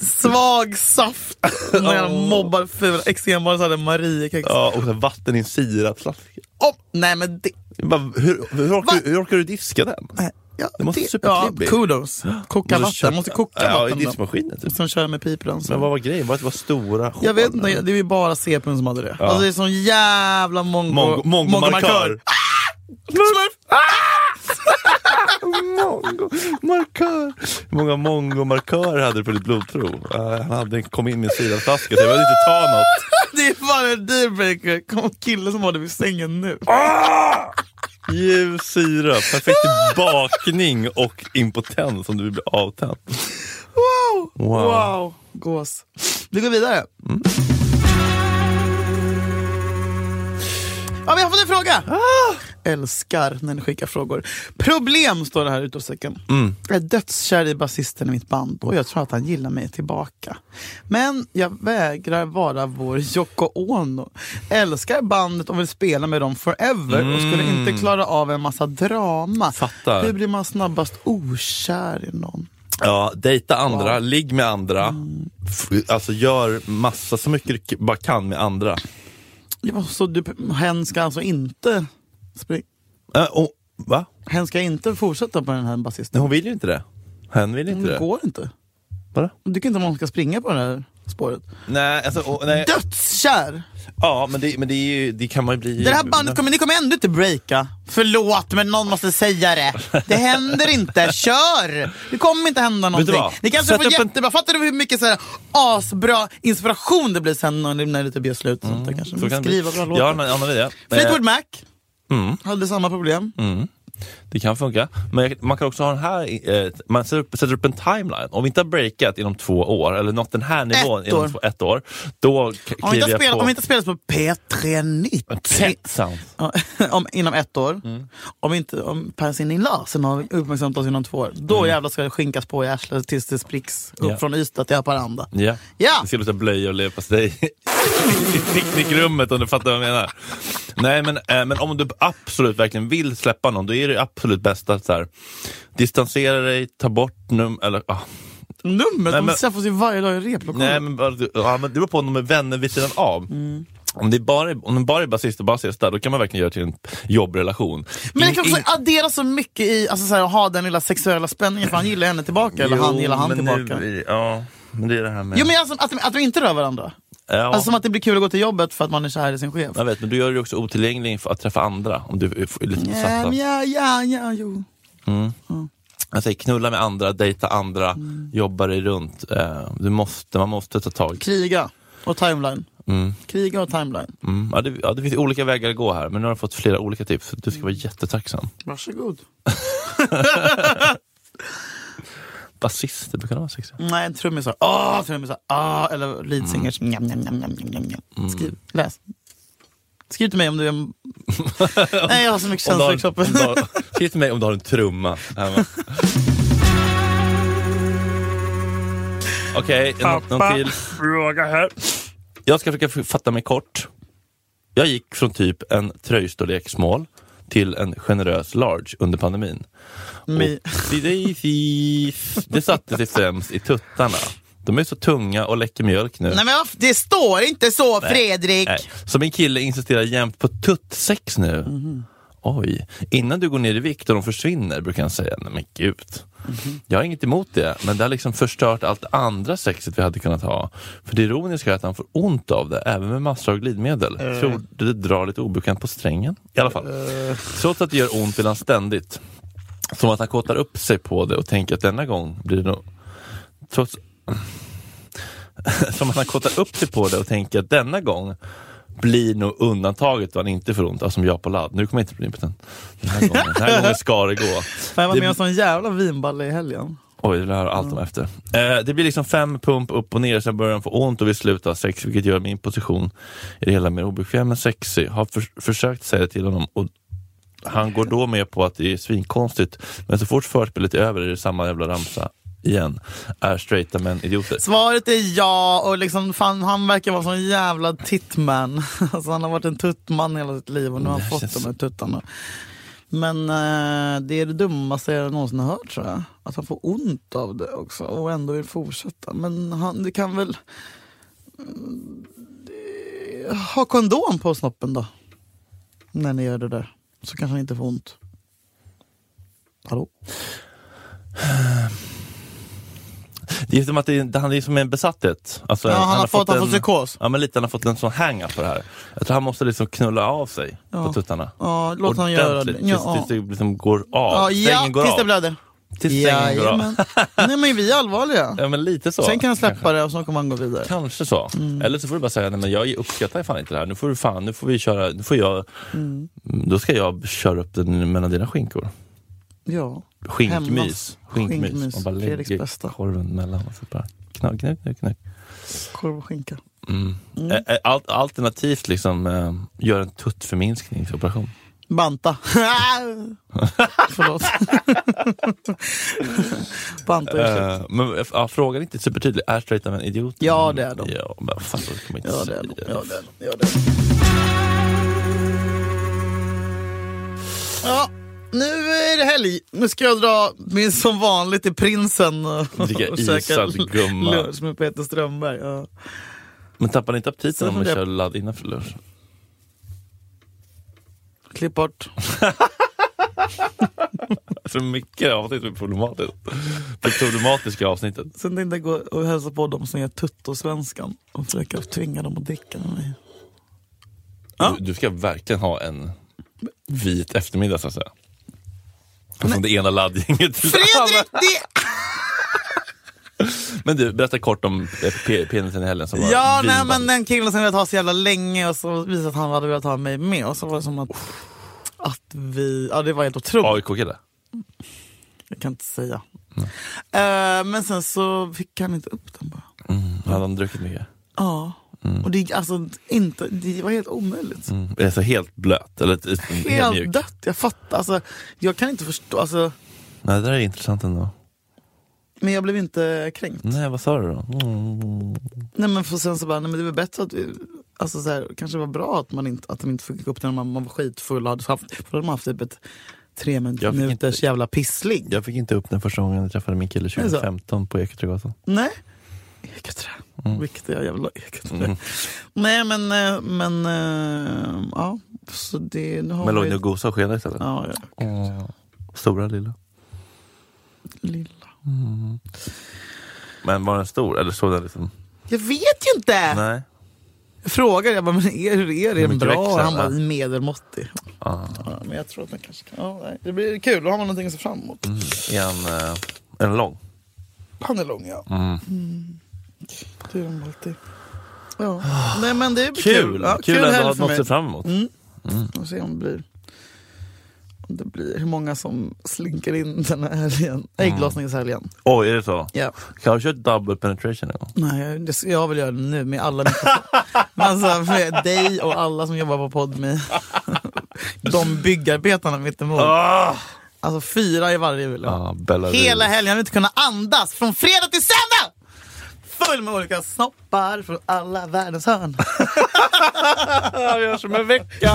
[SPEAKER 3] Svag saft. När jag mobbar fula exenbarn så hade Mariekex.
[SPEAKER 2] Ja, och så här vatten i en sirapsflaska.
[SPEAKER 3] Oh, nej men det...
[SPEAKER 2] Bara, Hur, hur,
[SPEAKER 3] Va?
[SPEAKER 2] orkar, hur orkar du diska den?
[SPEAKER 3] Ja,
[SPEAKER 2] Det måste
[SPEAKER 3] ja,
[SPEAKER 2] superklibbig.
[SPEAKER 3] kudos. Koka
[SPEAKER 2] Måste
[SPEAKER 3] vatten,
[SPEAKER 2] köpa-
[SPEAKER 3] måste koka
[SPEAKER 2] Ja, i
[SPEAKER 3] vatten. då.
[SPEAKER 2] diskmaskinen. Typ.
[SPEAKER 3] Och Sen köra med piprens.
[SPEAKER 2] Men vad var grejen? Var det att det var stora
[SPEAKER 3] Jag vet
[SPEAKER 2] hål?
[SPEAKER 3] inte, det är ju bara CPn som hade det. Alltså det är sån jävla mongo...
[SPEAKER 2] Mongo- Mongomarkör.
[SPEAKER 3] Ah! Smurf!
[SPEAKER 2] Mongomarkör! Hur många mongomarkörer hade du på ditt blodprov? Eh, han hade, kom in med en sirapsflaska så jag behövde inte ta något.
[SPEAKER 3] Det är fan en dealbreaker. Kom en kille som har det vid sängen nu.
[SPEAKER 2] Ljus sirap, perfekt till bakning och impotens om du vill bli avtänd.
[SPEAKER 3] Wow!
[SPEAKER 2] Wow.
[SPEAKER 3] Gås. Vi går vidare. Ja, vi har fått en fråga!
[SPEAKER 2] Ah.
[SPEAKER 3] Älskar när ni skickar frågor. Problem står det här i utropstecken.
[SPEAKER 2] Mm.
[SPEAKER 3] Jag är dödskär i basisten i mitt band och jag tror att han gillar mig tillbaka. Men jag vägrar vara vår Yoko Ono. Älskar bandet och vill spela med dem forever och skulle inte klara av en massa drama.
[SPEAKER 2] Mm. Fattar.
[SPEAKER 3] Hur blir man snabbast okär i någon?
[SPEAKER 2] Ja, dejta andra, ligg med andra.
[SPEAKER 3] Mm.
[SPEAKER 2] F- Alltså gör massa, så mycket du k- bara kan med andra.
[SPEAKER 3] Ja, så du, hen ska alltså inte spring,
[SPEAKER 2] Äh, och, va?
[SPEAKER 3] hen ska inte fortsätta på den här basisten?
[SPEAKER 2] Nej, hon vill ju inte det. Hen vill inte
[SPEAKER 3] det
[SPEAKER 2] det.
[SPEAKER 3] går inte.
[SPEAKER 2] Vadå?
[SPEAKER 3] Du tycker inte att man ska springa på det här spåret?
[SPEAKER 2] Nej, alltså, och, nej.
[SPEAKER 3] Dödskär!
[SPEAKER 2] Ja, men det, men det, är ju, det kan man ju bli...
[SPEAKER 3] Det här bandet kommer, ni kommer ändå inte breaka. Förlåt, men någon måste säga det. Det händer inte. Kör! Det kommer inte hända någonting.
[SPEAKER 2] vad?
[SPEAKER 3] Ni kanske
[SPEAKER 2] Sätt
[SPEAKER 3] får
[SPEAKER 2] upp en-
[SPEAKER 3] jättebra... Fattar du hur mycket så här, asbra inspiration det blir sen när när det typ gör slut? och Sånt där, kanske.
[SPEAKER 2] Mm. Så kan det bli.
[SPEAKER 3] Skriva bra
[SPEAKER 2] Jag har
[SPEAKER 3] låtar.
[SPEAKER 2] en annan idé.
[SPEAKER 3] Fleetwood
[SPEAKER 2] Eh,
[SPEAKER 3] Mac
[SPEAKER 2] Mm.
[SPEAKER 3] hade samma problem.
[SPEAKER 2] Det kan funka. Men jag- man kan också ha den här, eh, man sätter upp, sätter upp en timeline. Om vi inte har breakat inom två år, eller nått den här nivån
[SPEAKER 3] Ett år.
[SPEAKER 2] inom två, ett år, då k-
[SPEAKER 3] Om vi
[SPEAKER 2] kliver
[SPEAKER 3] inte
[SPEAKER 2] jag
[SPEAKER 3] har spelat,
[SPEAKER 2] på...
[SPEAKER 3] om vi inte har spelat på P3 Nytt.
[SPEAKER 2] Pet sounds.
[SPEAKER 3] Ja, om, inom ett år.
[SPEAKER 2] Mm.
[SPEAKER 3] Om inte om Per Sinding Larsen har uppmärksammat oss inom två år. Då jävlar ska det skinkas på i arslet tills det spricks upp
[SPEAKER 2] Mm. Ja.
[SPEAKER 3] från Ystad till Haparanda.
[SPEAKER 2] Ja.
[SPEAKER 3] Ja.
[SPEAKER 2] Det ska låta blöja och leverpastej i picknickrummet om du fattar vad jag menar. Nej, men, eh, men om du absolut verkligen vill släppa någon, då är det absolut bäst att så här, distansera dig, ta bort num... Eller, ah,
[SPEAKER 3] Numret,
[SPEAKER 2] Nej,
[SPEAKER 3] de
[SPEAKER 2] men-
[SPEAKER 3] träffas ju varje dag i replokalen. Mm.
[SPEAKER 2] Nej, men, bara- ja, men det beror på om de är vänner vid sidan av. Om det bara är, om det bara är basist och basista, då kan man verkligen göra till en jobbrelation.
[SPEAKER 3] Men det
[SPEAKER 2] In-
[SPEAKER 3] kan också
[SPEAKER 2] in-
[SPEAKER 3] addera så mycket i alltså, så här, att ha den lilla sexuella spänningen för han gillar henne tillbaka eller han
[SPEAKER 2] Jo,
[SPEAKER 3] gillar han
[SPEAKER 2] men
[SPEAKER 3] tillbaka.
[SPEAKER 2] Nu, ja, men det är det här med...
[SPEAKER 3] Jo men alltså, att, de- att de inte rör varandra.
[SPEAKER 2] ja.
[SPEAKER 3] Alltså som att det blir kul att gå till jobbet för att man är kär i sin chef.
[SPEAKER 2] Jag vet, men du gör dig också otillgänglig för att träffa andra. Om du är f- lite besatt
[SPEAKER 3] Ja,
[SPEAKER 2] av-
[SPEAKER 3] ja, ja, ja, jo.
[SPEAKER 2] Jag säger knulla med andra, dejta andra, jobba dig runt. Eh, Du måste, man måste ta tag.
[SPEAKER 3] Kriga och timeline. Kriga och timeline.
[SPEAKER 2] Mm. Ja, det, ja, det finns olika vägar att gå här, men nu har jag fått flera olika tips. Du ska vara jättetacksam.
[SPEAKER 3] Varsågod.
[SPEAKER 2] Basister brukar vara sexiga.
[SPEAKER 3] Nej, trummisar. Åh, trummisar. Åh, Ah, eller lead singers.
[SPEAKER 2] Mm.
[SPEAKER 3] Njam, njam, njam, njam, njam, njam. Skriv, läs. Skriv till mig om du är... en- Nej, jag har så mycket
[SPEAKER 2] Om du
[SPEAKER 3] känslor i
[SPEAKER 2] har- om
[SPEAKER 3] kroppen.
[SPEAKER 2] du har- Skriv till mig om du har en trumma. hemma. Okej, nå- någon till?
[SPEAKER 3] fråga här.
[SPEAKER 2] Jag ska försöka f- fatta mig kort. Jag gick från typ en tröjstorlek small till en generös large under pandemin.
[SPEAKER 3] Mi-
[SPEAKER 2] Och precis, det satte sig främst i tuttarna. De är så tunga och läcker mjölk nu.
[SPEAKER 3] Nej, men vad- det står inte så, Fredrik!
[SPEAKER 2] Nej. Så min kille insisterar jämt på tuttsex nu. Oj. Innan du går ner i vikt och de försvinner, brukar han säga. Nej men gud. Jag har inget emot det, men det har liksom förstört allt det andra sexet vi hade kunnat ha. För det ironiska är att han får ont av det, även med massor av glidmedel. Tror det drar lite obekvämt på strängen. I alla fall. Trots att det gör ont vill han ständigt. Som att han kåtar upp sig på det och tänker att denna gång blir det nog... Trots... Som att han kåtar upp sig på det och tänker att denna gång blir nog undantaget då han inte får ont, alltså som jag på ladd. Nu kommer jag inte bli impotens. Den här gången, den här gången ska det gå.
[SPEAKER 3] Fan, Jag var
[SPEAKER 2] Det-
[SPEAKER 3] med om sån jävla vinballe i helgen.
[SPEAKER 2] Oj, det vill jag höra allt om efter. Eh, det blir liksom fem pump upp och ner, sen börjar den få ont och vill sluta ha sex, vilket gör min position i det hela mer obekväm än sexig. Har för, försökt säga det till honom och han går då med på att det är svinkonstigt, men så fort förspelet är över är det samma jävla ramsa igen. Är straighta män idioter?
[SPEAKER 3] Svaret är ja, och liksom, fan, han verkar vara sån jävla tittman. Alltså, han har varit en tuttman hela sitt liv och nu har han
[SPEAKER 2] Det
[SPEAKER 3] fått
[SPEAKER 2] känns-
[SPEAKER 3] de här tuttarna. Men eh, det är det dummaste jag någonsin har hört tror jag. Att han får ont av det också och ändå vill fortsätta. Men han, det kan väl... Mm, det- Ha kondom på snoppen då. När ni gör det där. Så kanske han inte får ont. Hallå?
[SPEAKER 2] Det är som att det, det, han är som en besatthet. Alltså,
[SPEAKER 3] Ja, han har fått- han får
[SPEAKER 2] en-
[SPEAKER 3] psykos.
[SPEAKER 2] Ja, men lite, han har fått en sån hang-up på det här. Jag tror han måste liksom knulla av sig på tuttarna.
[SPEAKER 3] Ja, låt han göra det.
[SPEAKER 2] Tills, tills det liksom går av.
[SPEAKER 3] Ja, ja
[SPEAKER 2] Sängen går
[SPEAKER 3] tills
[SPEAKER 2] av.
[SPEAKER 3] det blöder.
[SPEAKER 2] Tills sängen går av.
[SPEAKER 3] Jajamän. Nej men vi är allvarliga.
[SPEAKER 2] Ja, men lite så.
[SPEAKER 3] Sen kan Mm. han släppa
[SPEAKER 2] kanske.
[SPEAKER 3] det och så kommer han gå vidare.
[SPEAKER 2] Kanske så. Eller så får du bara säga, nej men jag uppskattar fan inte det här. Nu får du fan, nu får vi köra, nu får jag,
[SPEAKER 3] Mm.
[SPEAKER 2] då ska jag köra upp den mellan dina skinkor.
[SPEAKER 3] Ja.
[SPEAKER 2] Skinkmys.
[SPEAKER 3] Hämnas.
[SPEAKER 2] Skinkmys.
[SPEAKER 3] Skinkmys.
[SPEAKER 2] Man bara
[SPEAKER 3] Fredriks
[SPEAKER 2] lägger
[SPEAKER 3] bästa.
[SPEAKER 2] korven mellan och så bara knack, knack, knack, knack.
[SPEAKER 3] Korv och skinka.
[SPEAKER 2] Eh, eh, Al alternativt liksom, eh, gör en tuttförminskningsoperation.
[SPEAKER 3] Banta. Förlåt. Banta och ursäkt.
[SPEAKER 2] Eh, men eh, ja, frågan är inte supertydlig. Är straighta män idioter?
[SPEAKER 3] Ja, det är de.
[SPEAKER 2] Ja, men vad fan, det kan man inte
[SPEAKER 3] Ja det
[SPEAKER 2] säga.
[SPEAKER 3] är det. Ja, det, är det. Ja, det, är det. ja, nu är det helg. Nu ska jag dra min som vanligt till Prinsen och,
[SPEAKER 2] Dricka
[SPEAKER 3] och käka
[SPEAKER 2] isad gumma.
[SPEAKER 3] lunch med Peter Strömberg. Ja.
[SPEAKER 2] Men tappar ni inte aptiten
[SPEAKER 3] Sen
[SPEAKER 2] om man
[SPEAKER 3] funderar-
[SPEAKER 2] kör ladd innanför lunch?
[SPEAKER 3] Klipp bort.
[SPEAKER 2] Så mycket avsnitt är typ problematiskt. Det problematiska avsnittet.
[SPEAKER 3] Sen tänkte jag gå och hälsa på dem som är tuttosvenskan och försöka tvinga dem att dricka med mig. Ja.
[SPEAKER 2] Du, du ska verkligen ha en vit eftermiddag så att säga. Från det ena laddgänget till det andra.
[SPEAKER 3] Fredrik! Det...
[SPEAKER 2] Men du, berätta kort om eh, pe- penisen i helgen som var
[SPEAKER 3] Ja, nej,
[SPEAKER 2] vinband.
[SPEAKER 3] men den killen som jag ha så jävla länge och så visade att han hade velat ha mig med och så var det som att, att vi... Ja, det var helt otroligt.
[SPEAKER 2] AIK-kille?
[SPEAKER 3] Jag kan inte säga. Eh, men sen så fick han inte upp den bara.
[SPEAKER 2] Hade han druckit mycket?
[SPEAKER 3] Ja. Och det, gick alltså, inte, det var helt omöjligt.
[SPEAKER 2] Mm. Alltså helt blöt? Eller t- helt, mjuk?
[SPEAKER 3] Helt dött. Jag fattar. Alltså, jag kan inte förstå. Alltså,
[SPEAKER 2] Nej, det där är intressant ändå.
[SPEAKER 3] men jag blev inte kränkt.
[SPEAKER 2] Nej, vad sa du då? Mm.
[SPEAKER 3] Nej men för sen så bara, nej men det var bättre att vi, alltså så här, kanske det var bra att man inte, att de inte fick upp den när man, man var skitfull och hade haft, för då hade man haft typ ett tre
[SPEAKER 2] Jag fick
[SPEAKER 3] minuters
[SPEAKER 2] inte-
[SPEAKER 3] jävla pissling.
[SPEAKER 2] Jag fick inte upp den första gången jag träffade min kille
[SPEAKER 3] så?
[SPEAKER 2] 2015 på Ekerögatan.
[SPEAKER 3] Nej, Eketrä.
[SPEAKER 2] Mm.
[SPEAKER 3] Viktiga jävla Eketrä. Nej men, eh, men eh, ja. Så det, nu har
[SPEAKER 2] Men låg
[SPEAKER 3] vi-
[SPEAKER 2] ni och gosade och skenade istället?
[SPEAKER 3] Ja, ja.
[SPEAKER 2] Åh, Stora, lilla? Mm.
[SPEAKER 3] Lilla.
[SPEAKER 2] Men var den stor? Eller såg den liksom...
[SPEAKER 3] Jag vet ju inte!
[SPEAKER 2] Nej.
[SPEAKER 3] Jag frågade, jag bara, men är, hur är det? Är den
[SPEAKER 2] mycket
[SPEAKER 3] bra?
[SPEAKER 2] växer
[SPEAKER 3] han
[SPEAKER 2] den?
[SPEAKER 3] bara, medelmåttig.
[SPEAKER 2] Ah.
[SPEAKER 3] Ja, men jag tror att den kanske kan. Ja, nej. det blir kul, då har man någonting att se fram emot.
[SPEAKER 2] Är en, eh, är den lång?
[SPEAKER 3] Han är lång ja. Mm. Det är de alltid. Ja. Nej men det blir kul.
[SPEAKER 2] Kul!
[SPEAKER 3] Ja,
[SPEAKER 2] kul ändå
[SPEAKER 3] helg
[SPEAKER 2] att
[SPEAKER 3] för
[SPEAKER 2] något
[SPEAKER 3] mig.
[SPEAKER 2] att se fram emot.
[SPEAKER 3] Mm. Och se om det blir om det blir hur många som slinker in den här helgen. Ägglossningshelgen.
[SPEAKER 2] Oj, är det så?
[SPEAKER 3] Ja.
[SPEAKER 2] Kan du köra double penetration en gång?
[SPEAKER 3] Nej, jag- det, jag vill göra det nu med alla mina- Men alltså, med dig och alla som jobbar på Podme. De byggarbetarna mittemot.
[SPEAKER 2] Ah!
[SPEAKER 3] Alltså fyra i varje vill jag.
[SPEAKER 2] Ah, Bella
[SPEAKER 3] Hela
[SPEAKER 2] Rudolph.
[SPEAKER 3] helgen har vi inte kunnat andas från fredag till söndag! Full med olika snoppar från alla världens hörn.
[SPEAKER 2] Ja, vi hörs om en vecka!